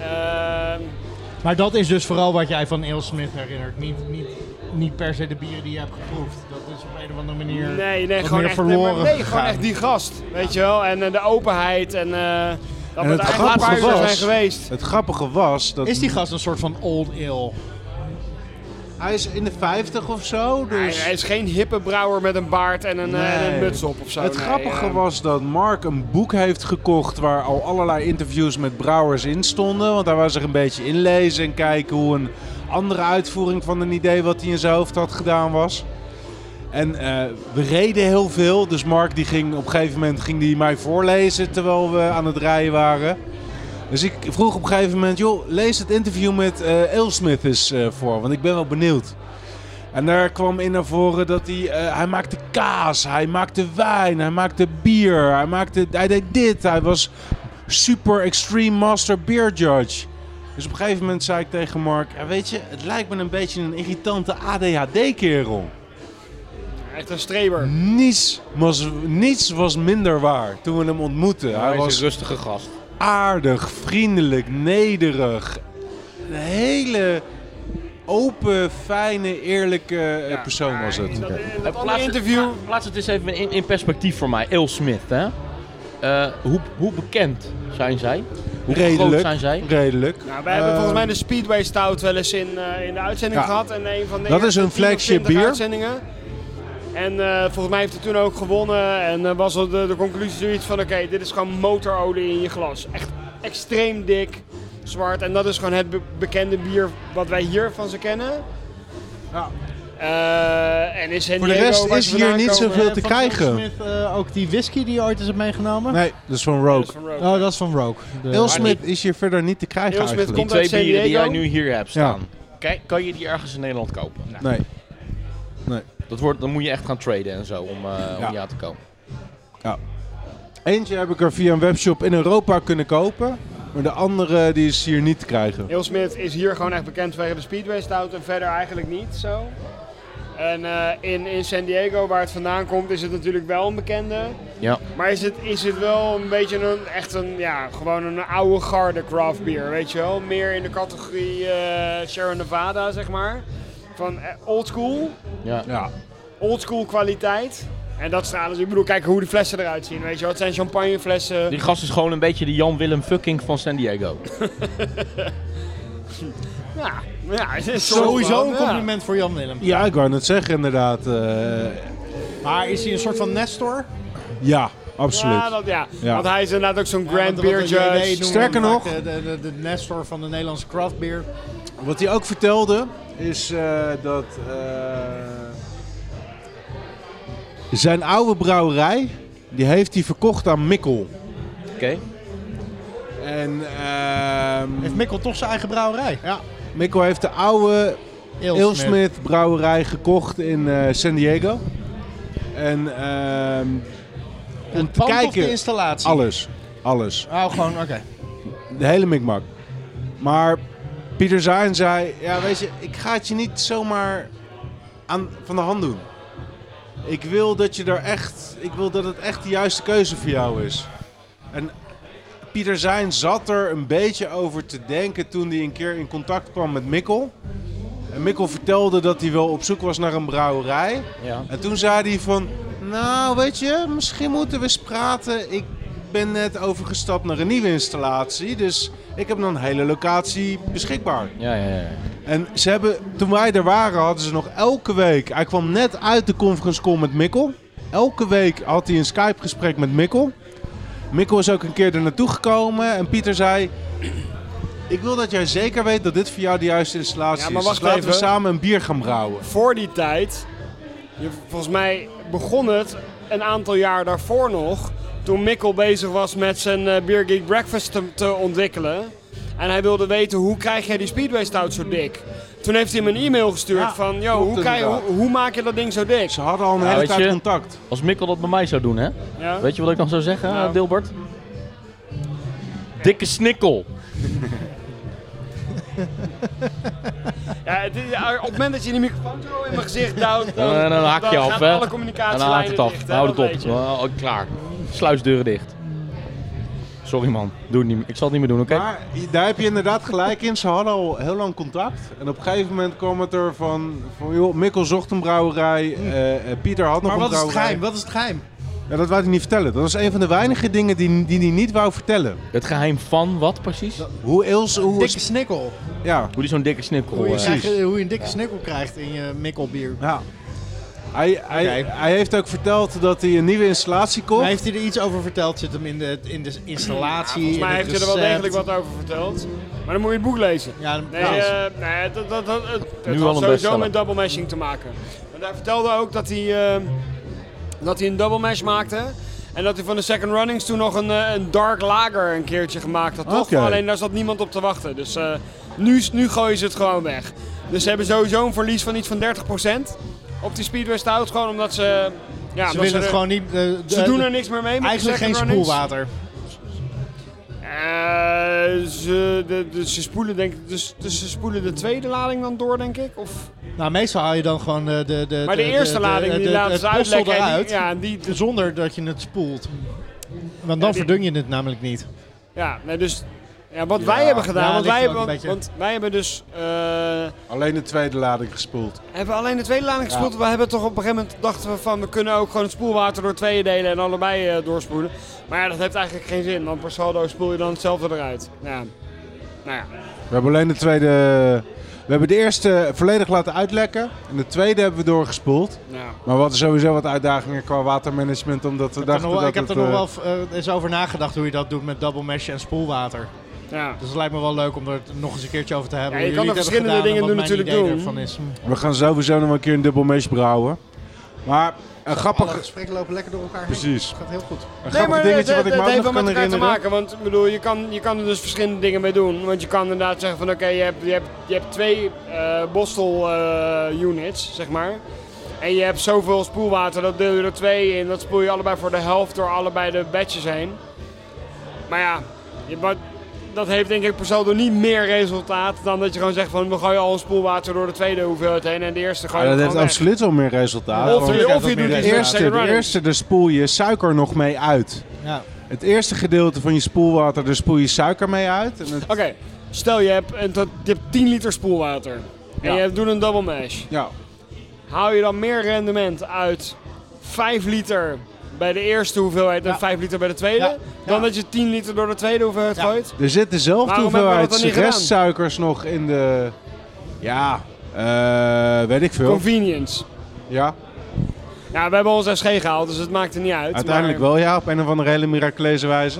Ehm, Maar dat is dus vooral wat jij van Ale Smith herinnert. Niet, niet, niet per se de bieren die je hebt geproefd. Dat is op een of andere manier. Nee, nee, wat gewoon meer echt, verloren nee, maar nee, gewoon gegaan. echt die gast, weet je wel. En eh, de openheid en eh, dat En we daar het echt een grappige paar uur was- zijn geweest. Het grappige was dat Is die gast een soort van old ale? hij is in de 50 of zo. Hij, Dus hij is geen hippe brouwer met een baard en een, eh, en een Nee. muts op of zo. het Nee, grappige eh, was dat Mark een boek heeft gekocht waar al allerlei interviews met brouwers in stonden. Want hij was er een beetje in lezen en kijken hoe een andere uitvoering van een idee wat hij in zijn hoofd had gedaan was. En eh, we reden heel veel, dus Mark die ging op een gegeven moment ging die mij voorlezen terwijl we aan het rijden waren. Dus ik vroeg op een gegeven moment, joh, lees het interview met eh Ailsmith eens eh, voor, want ik ben wel benieuwd. En daar kwam in naar voren dat hij, eh, hij maakte kaas, hij maakte wijn, hij maakte bier, hij, maakte, hij deed dit. Hij was super extreme master beer judge. Dus op een gegeven moment zei ik tegen Mark, "Ja, weet je, het lijkt me een beetje een irritante ADHD-kerel. Echt een streber. Niets was, niets was minder waar toen we hem ontmoetten. hij Hij is een was rustige gast. aardig, vriendelijk, nederig. Een hele open, fijne, eerlijke eh, persoon was het. Dat, in Eh, dat andere interview. Het, plaats het eens even in, in perspectief voor mij. Ale Smith, hè? Eh, hoe, hoe bekend zijn zij? Hoe groot Redelijk. zijn zij? Redelijk. Nou, wij hebben volgens mij Ehm, de Speedway Stout wel eens in, eh, in de uitzending Ja. gehad. En een van de Dat eerste is hun 10 of flagship 20 bier. uitzendingen. En eh, volgens mij heeft hij toen ook gewonnen. En eh, was al de, de conclusie zoiets van: oké, dit is gewoon motorolie in je glas. Echt extreem dik, zwart. En dat is gewoon het be- bekende bier wat wij hier van ze kennen. Ja. Eh, en is Voor de rest is hier niet zoveel te krijgen. Smith, eh, ook die whisky die je ooit eens hebt meegenomen? Eh, Nee, dat is van Rogue. Oh, dat is van Rogue. De- Heel Smith is hier verder niet te krijgen Heel Smith Die eigenlijk. komt uit twee San bieren die jij Diego. nu hier hebt Ja. staan. Kijk, kan je die ergens in Nederland kopen? Nou. Nee. Dat wordt, dan moet je echt gaan traden en zo om, eh Ja. om je aan te komen. Eentje heb ik er via een webshop in Europa kunnen kopen. Maar de andere die is hier niet te krijgen. Heel Smith is hier gewoon echt bekend vanwege de Speedway Stout en verder eigenlijk niet zo. En eh, in, in San Diego, waar het vandaan komt, is het natuurlijk wel een bekende. Ja. Maar is het, is het wel een beetje een, echt een, ja, gewoon een oude garde craft beer, weet je wel? Meer in de categorie eh Sierra Nevada, zeg maar. Van eh, old school, Ja. Ja. old school kwaliteit. En dat stralen ze. Ik bedoel, kijk hoe de flessen eruit zien, weet je wel? Het zijn champagneflessen. Die gast is gewoon een beetje de Jan-Willem Fucking van San Diego. Ja, ja het is Sowieso een ja. compliment voor Jan Willem. ja, ik wou net zeggen inderdaad. eh, Maar is hij een soort van Nestor? ja, Ja, absoluut. dat, ja. Ja. want hij is inderdaad ook zo'n grand Want- beer want de JW judge. noemen Sterker hem vaak nog- De, de, de, de Nestor van de Nederlandse craft beer. Wat hij ook vertelde is eh, dat eh, zijn oude brouwerij, die heeft hij verkocht aan Mikkel. Oké. En ehm, Heeft Mikkel toch zijn eigen brouwerij? Ja. Mikkel heeft de oude Ilsmith. Ilsmith brouwerij gekocht in eh, San Diego. En ehm, Het pand of de kijken. installatie? alles, alles. Oh, gewoon, oké. De hele mikmak. Maar Pieter Zijn zei, ja weet je, ik ga het je niet zomaar aan, van de hand doen. Ik wil dat je daar echt, ik wil dat het echt de juiste keuze voor jou is. En Pieter Zijn zat er een beetje over te denken toen hij een keer in contact kwam met Mikkel. En Mikkel vertelde dat hij wel op zoek was naar een brouwerij. Ja. En toen zei hij van, nou weet je, misschien moeten we eens praten. Ik ben net overgestapt naar een nieuwe installatie, dus ik heb nog een hele locatie beschikbaar. Ja, ja, ja. En ze hebben, toen wij er waren, hadden ze nog elke week. Hij kwam net uit de conference call met Mikkel. Elke week had hij een Skype-gesprek met Mikkel. Mikkel is ook een keer er naartoe gekomen en Pieter zei. Ik wil dat jij zeker weet dat dit voor jou de juiste installatie Ja, maar is. wacht Dus laten we even. samen een bier gaan brouwen. voor die tijd, je- volgens mij begon het een aantal jaar daarvoor nog, toen Mikkel bezig was met zijn eh Beer Geek Breakfast te, te ontwikkelen. En hij wilde weten, hoe krijg jij die Speedway Stout zo dik? Toen heeft hij hem een e-mail gestuurd Ja, van, yo, hoe, klopt krijg, hoe, inderdaad. hoe maak je dat ding zo dik? Ze hadden al een Ja, hele weet tijd je- contact. Als Mikkel dat bij mij zou doen, hè? Ja? Weet je wat ik dan zou zeggen, Nou. eh, Dilbert? Dikke snikkel. Ja, het is- ja, op het moment dat je die microfoon zo in mijn gezicht duwt, dan, En dan hak je dan af, hè? gaat alle En dan haakt communicatielijnen het af. dicht, hè, Houd het dat op. weet je. Oh, klaar. Sluisdeuren dicht. Sorry man, doe het niet meer. Ik zal het niet meer doen, oké? Maar daar heb je inderdaad gelijk in. Ze hadden al heel lang contact. En op een gegeven moment kwam het er van... van joh, Mikkel zocht een brouwerij. eh, eh, Pieter had nog Hm. Maar wat een is het brouwerij. geheim? Wat is het geheim? Ja, dat wou hij niet vertellen. Dat was een van de weinige dingen die, die hij niet wou vertellen. Het geheim van wat precies? Hoe Ils... Hoe Dikke snikkel. ja. Hoe die zo'n dikke snikkel. Hoe je, eh, krijgt- hoe je een dikke snikkel krijgt in je mikkelbier. ja. Hij, hij, Oké. hij heeft ook verteld dat hij een nieuwe installatie kocht. Maar heeft hij er iets over verteld? Zit hem in de, in de installatie? Volgens mij in het heeft je er wel recept? degelijk wat over verteld. Maar dan moet je het boek lezen. Ja, Nee, nou, eh, nee dat, dat, dat, het, het Nu al had een sowieso bestseller. met double mashing te maken. Want hij vertelde ook dat hij, eh, dat hij een double mash maakte. En dat hij van de second runnings toen nog een, eh, een dark lager een keertje gemaakt had. Toch? Oké. Alleen daar zat niemand op te wachten. Dus eh, nu, nu gooien ze het gewoon weg. Dus ze hebben sowieso een verlies van iets van 30% op die Speedway Stout. Gewoon omdat ze... Ja, ze omdat willen er- het gewoon niet... eh, Ze eh, doen er niks meer mee met de Eigenlijk geen second runnings. spoelwater. Eh, ze, de, de- ze spoelen denk ik, dus, dus ze spoelen de tweede lading dan door, denk ik. Of, Nou, meestal haal je dan gewoon eh, de... de maar de, eerste lading die laten het ze postel uitlekken. en die- eruit. Ja, en die, dus, Zonder dat je het spoelt. Want dan die- verdun je het namelijk niet. ja, nee, dus ja, wat Ja, wij hebben gedaan, ja, want, ligt wij er ook hebben, een want, beetje. want wij hebben dus eh, Alleen de tweede lading gespoeld. hebben alleen de tweede lading gespoeld. We hebben toch op een gegeven moment dachten we van we kunnen ook gewoon het spoelwater door tweeën delen en allebei eh, doorspoelen. Maar ja, dat heeft eigenlijk geen zin, want per saldo spoel je dan hetzelfde eruit. Ja. Nou ja. We hebben alleen de tweede... We hebben de eerste volledig laten uitlekken. En de tweede hebben we doorgespoeld. ja. Maar we hadden sowieso wat uitdagingen qua watermanagement. Omdat we Ik heb er dachten nog wel- dat ik heb het, er nog eh, wel eh, eens over nagedacht hoe je dat doet met double mesh en spoelwater. ja. Dus het lijkt me wel leuk om er nog eens een keertje over te hebben. Ja, je hoe kan jullie er het hebben verschillende gedaan en dingen wat mijn idee natuurlijk ervan is. We gaan sowieso nog wel een keer een dubbel mesh brouwen. Maar een grappig, Alle gesprekken lopen lekker door elkaar heen. Precies. gaat heel goed. een grappig dingetje wat ik me ook nog kan Het heeft wel met elkaar te herinneren. maken, want ik bedoel, je, kan, je kan er dus verschillende dingen mee doen. Want je kan inderdaad zeggen van oké, je, hebt, je, hebt, je hebt twee eh Bostel eh, units, zeg maar. En je hebt zoveel spoelwater, dat deel je er twee in. Dat spoel je allebei voor de helft door allebei de batches heen. Maar ja, je, wat, dat heeft denk ik per saldo niet meer resultaat dan dat je gewoon zegt van we gooien al een spoelwater door de tweede hoeveelheid heen en de eerste gooi Ja, je Ah, dat hem heeft gewoon weg. absoluut wel meer resultaat. Of je, of je doet De iets met eerste, second de running. eerste, daar spoel je suiker nog mee uit. Ja. Het eerste gedeelte van je spoelwater, daar spoel je suiker mee uit. En het, Oké, stel je hebt, een, tot- je hebt 10 liter spoelwater en Ja. je doet een double mash. ja, Haal je dan meer rendement uit 5 liter bij de eerste hoeveelheid en 5 liter bij de tweede, Ja. dan Ja. dat je 10 liter door de tweede hoeveelheid Ja. gooit? er zit dezelfde Waarom hebben we dat hoeveelheid dan niet gedaan? restsuikers nog in de... Ja, eh, weet ik veel. Convenience. Ja, Ja, we hebben ons SG gehaald, dus het maakt er niet uit. uiteindelijk maar- wel ja, op een of andere hele miraculeuze wijze.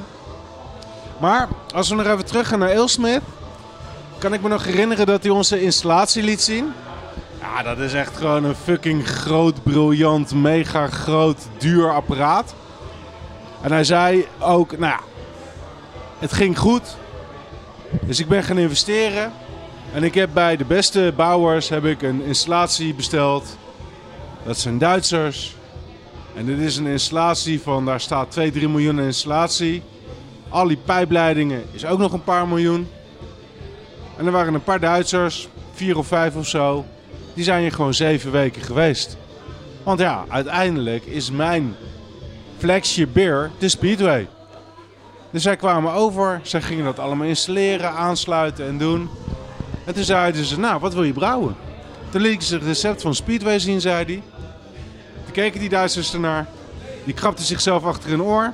Maar, als we nog even terug gaan naar Ailsmith, kan ik me nog herinneren dat hij onze installatie liet zien. Ja, dat is echt gewoon een fucking groot, briljant, mega groot, duur apparaat. En hij zei ook, nou ja, het ging goed. Dus ik ben gaan investeren. En ik heb bij de beste bouwers heb ik een installatie besteld. Dat zijn Duitsers. En dit is een installatie van, daar staat 2, 3 miljoen aan installatie. Al die pijpleidingen is ook nog een paar miljoen. En er waren een paar Duitsers, vier of vijf of zo. Die zijn hier gewoon zeven weken geweest. Want ja, uiteindelijk is mijn flagship beer de Speedway. Dus zij kwamen over, zij gingen dat allemaal installeren, aansluiten en doen. En toen zeiden ze, nou, wat wil je brouwen? Toen liet ik ze het recept van Speedway zien, zei hij. Toen keken die Duitsers ernaar. Die krabden zichzelf achter hun oor.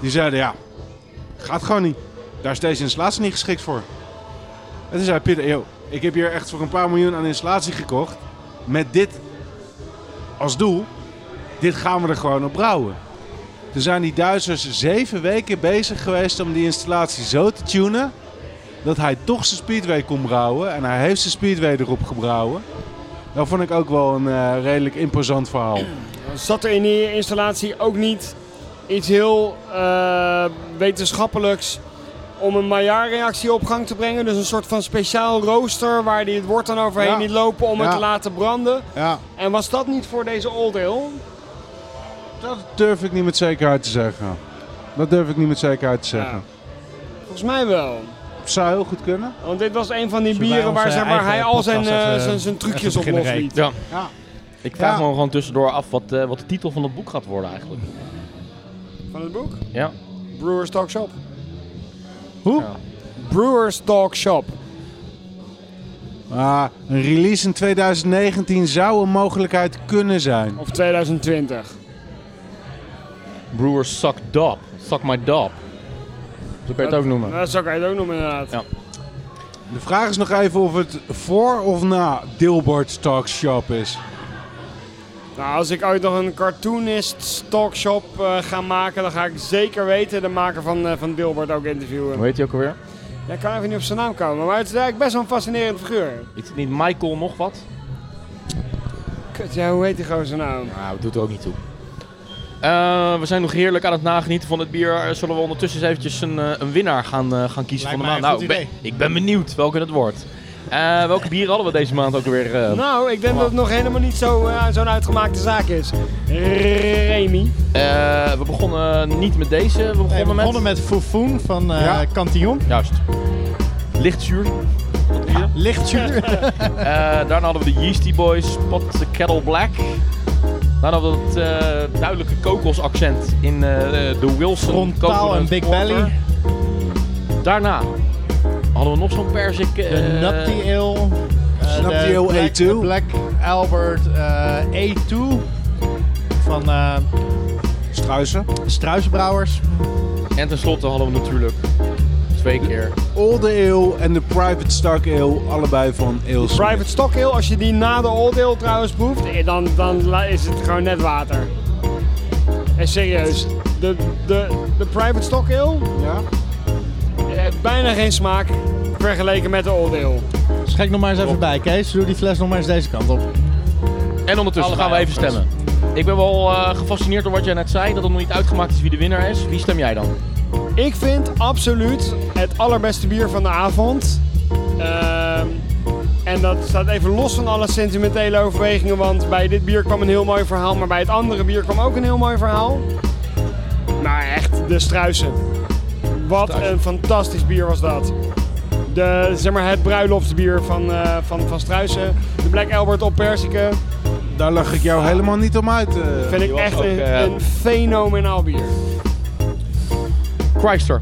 Die zeiden, ja, gaat gewoon niet. Daar is deze installatie niet geschikt voor. En toen zei Pieter, yo, ik heb hier echt voor een paar miljoen aan installatie gekocht. Met dit als doel. Dit gaan we er gewoon op brouwen. Toen zijn die Duitsers zeven weken bezig geweest om die installatie zo te tunen. Dat hij toch zijn speedway kon brouwen. En hij heeft zijn speedway erop gebrouwen. Dat vond ik ook wel een eh, redelijk imposant verhaal. Zat er in die installatie ook niet iets heel eh, wetenschappelijks om een Maillard-reactie op gang te brengen? Dus een soort van speciaal rooster waar die het wort dan overheen Ja. niet lopen om het Ja. te laten branden. Ja, En was dat niet voor deze Old Ale? dat durf ik niet met zekerheid te zeggen. Dat durf ik niet met zekerheid te zeggen. Volgens mij wel. Zou heel goed kunnen. Want dit was een van die Zullen wij bieren waar, onze zeg maar, eigen hij al zijn, podcast eh, even- zijn, zijn trucjes even op beginnen los liet. Ja. Ja. Ik vraag Ja. me gewoon tussendoor af wat, eh, wat de titel van het boek gaat worden eigenlijk. Van het boek? Ja. Brewers Talk Shop. Hoe? Brewers Talk Shop. Ah, een release in 2019 zou een mogelijkheid kunnen zijn. Of 2020. Brewers Suck Dop. Suck My Dop. Zo kan je het ook noemen. Dat zou ik het ook noemen inderdaad. Ja. De vraag is nog even of het voor of na Dilbert Talk Shop is. Nou, als ik ooit nog een cartoonist talkshop eh, ga maken, dan ga ik zeker weten de maker van, eh, van Dilbert ook interviewen. Hoe heet hij ook alweer? Ja, ik kan even niet op zijn naam komen, maar het is eigenlijk best wel een fascinerend figuur. Is het niet Michael nog wat? Kut, ja, hoe heet die gozer nou? Nou, dat doet er ook niet toe. Eh, we zijn nog heerlijk aan het nagenieten van het bier. Eh, Zullen we ondertussen eens eventjes een, eh, een winnaar gaan, eh, gaan kiezen Lijkt van mij de maand? een Nou, goed ik ben, ik ben benieuwd welke het wordt. Eh, welke bieren hadden we deze maand ook weer? eh? Nou, ik denk dat het nog helemaal niet zo, eh, zo'n uitgemaakte zaak is. Remy. Eh, we begonnen niet met deze. We begonnen, Nee, we begonnen met... met Foufoun van eh Ja. Cantillon. Juist. Lichtzuur. Lichtzuur. Eh, daarna hadden we de Yeasty Boys, Pot the Kettle Black. Daarna hadden we het eh, duidelijke kokosaccent in eh, de Wilson Frontaal en Coconut Big Porter. Belly. Daarna hadden we nog zo'n persik. eh, De Nupty Ale. eh, Nupty de Ale Black- A2. de Black Albert eh, A2 van eh Struisen. Struisbrouwers. En tenslotte hadden we natuurlijk twee keer. Old Ale en de Private Stock Ale, allebei van Ailsmith. Private Stock Ale, als je die na de Old Ale trouwens proeft, eh, dan, dan la- is het gewoon net water. En Eh, serieus, de, de, de Private Stock Ale Ja? eh, bijna geen smaak vergeleken met de Old Ale. Schrik nog maar eens even bij, Kees. Doe die fles nog maar eens deze kant op. En ondertussen gaan we even stemmen. Ik ben wel eh, gefascineerd door wat jij net zei, dat het nog niet uitgemaakt is wie de winnaar is. Wie stem jij dan? Ik vind absoluut het allerbeste bier van de avond. Ehm, en dat staat even los van alle sentimentele overwegingen, want bij dit bier kwam een heel mooi verhaal, maar bij het andere bier kwam ook een heel mooi verhaal. Maar echt, de Nou, struisen. Wat een fantastisch bier was dat. De, zeg maar, het bruiloftsbier van, eh van, van Struisen. De Black Albert op Persiken. Daar lag ik jou helemaal niet om uit. eh. Vind ik was echt ook, een, eh, een fenomenaal bier. Chrysler.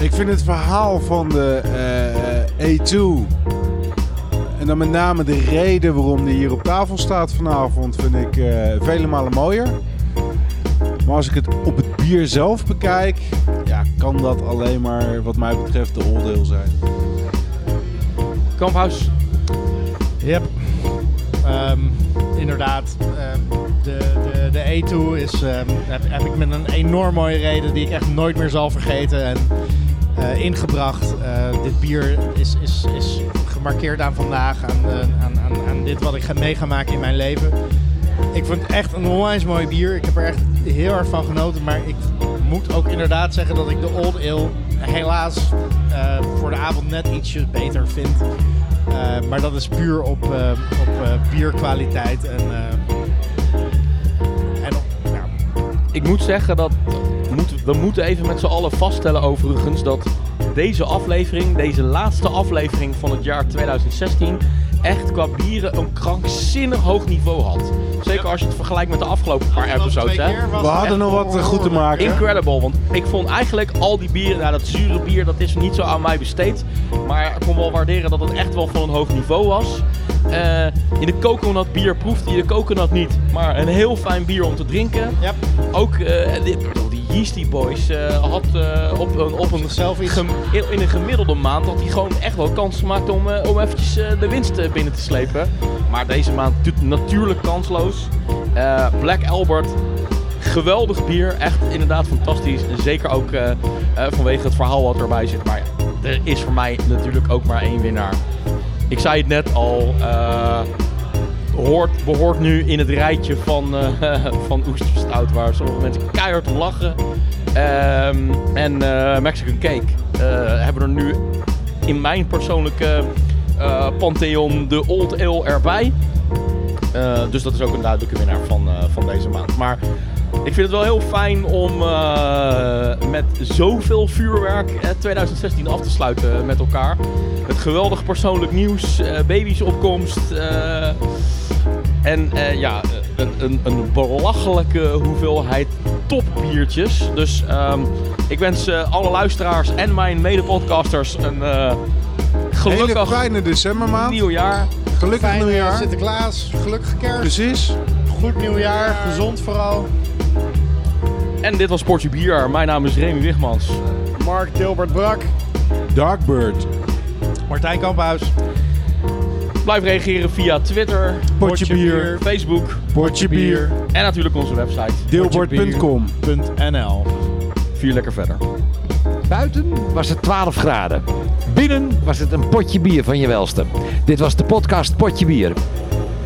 Ik vind het verhaal van de eh, A2 en dan met name de reden waarom die hier op tafel staat vanavond, vind ik eh, vele malen mooier. Maar als ik het op het bier zelf bekijk, ja, kan dat alleen maar wat mij betreft de oordeel zijn. Kamphuis. Yep. Ehm, inderdaad. ehm, de, de, de E2 is, ehm, heb, heb ik met een enorm mooie reden die ik echt nooit meer zal vergeten en eh, ingebracht. Eh, dit bier is, is, is gemarkeerd aan vandaag, aan, eh, aan, aan, aan dit wat ik ga, mee ga maken in mijn leven. Ik vond het echt een onwijs mooi bier. Ik heb er echt heel erg van genoten. Maar ik moet ook inderdaad zeggen dat ik de Old Ale helaas eh, voor de avond net ietsje beter vind. Eh, maar dat is puur op, eh, op eh, bierkwaliteit. En, eh, en op- ja. Ik moet zeggen dat. Moet, we moeten even met z'n allen vaststellen, overigens, dat deze aflevering, deze laatste aflevering van het jaar 2016, echt qua bieren een krankzinnig hoog niveau had. Zeker als je het vergelijkt met de afgelopen paar episodes. Hè. We hadden nog wat eh, goed te maken. Incredible, want ik vond eigenlijk al die bieren, nou dat zure bier, dat is niet zo aan mij besteed. Maar ik kon wel waarderen dat het echt wel van een hoog niveau was. Eh, in de coconut bier proefde je de coconut niet, maar een heel fijn bier om te drinken. Yep. Ook eh, dit- ik bedoel, die Yeasty Boys eh, had eh, op, een, op een Zichzelf iets- in, in een gemiddelde maand had hij gewoon echt wel kans gemaakt om, eh, om eventjes eh, de winst eh, binnen te slepen. Maar deze maand doet natuurlijk kansloos. Eh, Black Albert, geweldig bier, echt inderdaad fantastisch. En Zeker ook eh, eh, vanwege het verhaal wat erbij zit. Maar ja, er is voor mij natuurlijk ook maar één winnaar. Ik zei het net al. eh, hoort, behoort nu in het rijtje van, eh van Oesterstout, waar sommige mensen keihard om lachen. Ehm, en eh, Mexican Cake eh, hebben er nu in mijn persoonlijke eh, pantheon de Old Ale erbij. Eh, dus dat is ook een duidelijke winnaar van, eh, van deze maand. Maar ik vind het wel heel fijn om eh, met zoveel vuurwerk eh, 2016 af te sluiten met elkaar. Met geweldig persoonlijk nieuws, eh babysopkomst. eh, en eh, ja, een, een, een belachelijke hoeveelheid topbiertjes. Dus ehm, ik wens eh, alle luisteraars en mijn mede-podcasters een eh, Hele gelukkig fijne decembermaand. nieuw jaar. Gelukkig Fijn eh, nieuwjaar. Sinterklaas, gelukkig kerst, Precies. goed nieuwjaar, gezond vooral. En dit was Portje Bier. Mijn naam is Remy Wigmans. Mark Dilbert Brak. Darkbird. Martijn Kamphuis. Blijf reageren via Twitter, Potje bier. Facebook Potje bier. en natuurlijk onze website. Deelbord.com. NL. Vier lekker verder. Buiten was het 12 graden. Binnen was het een potje bier van je welste. Dit was de podcast Potje Bier.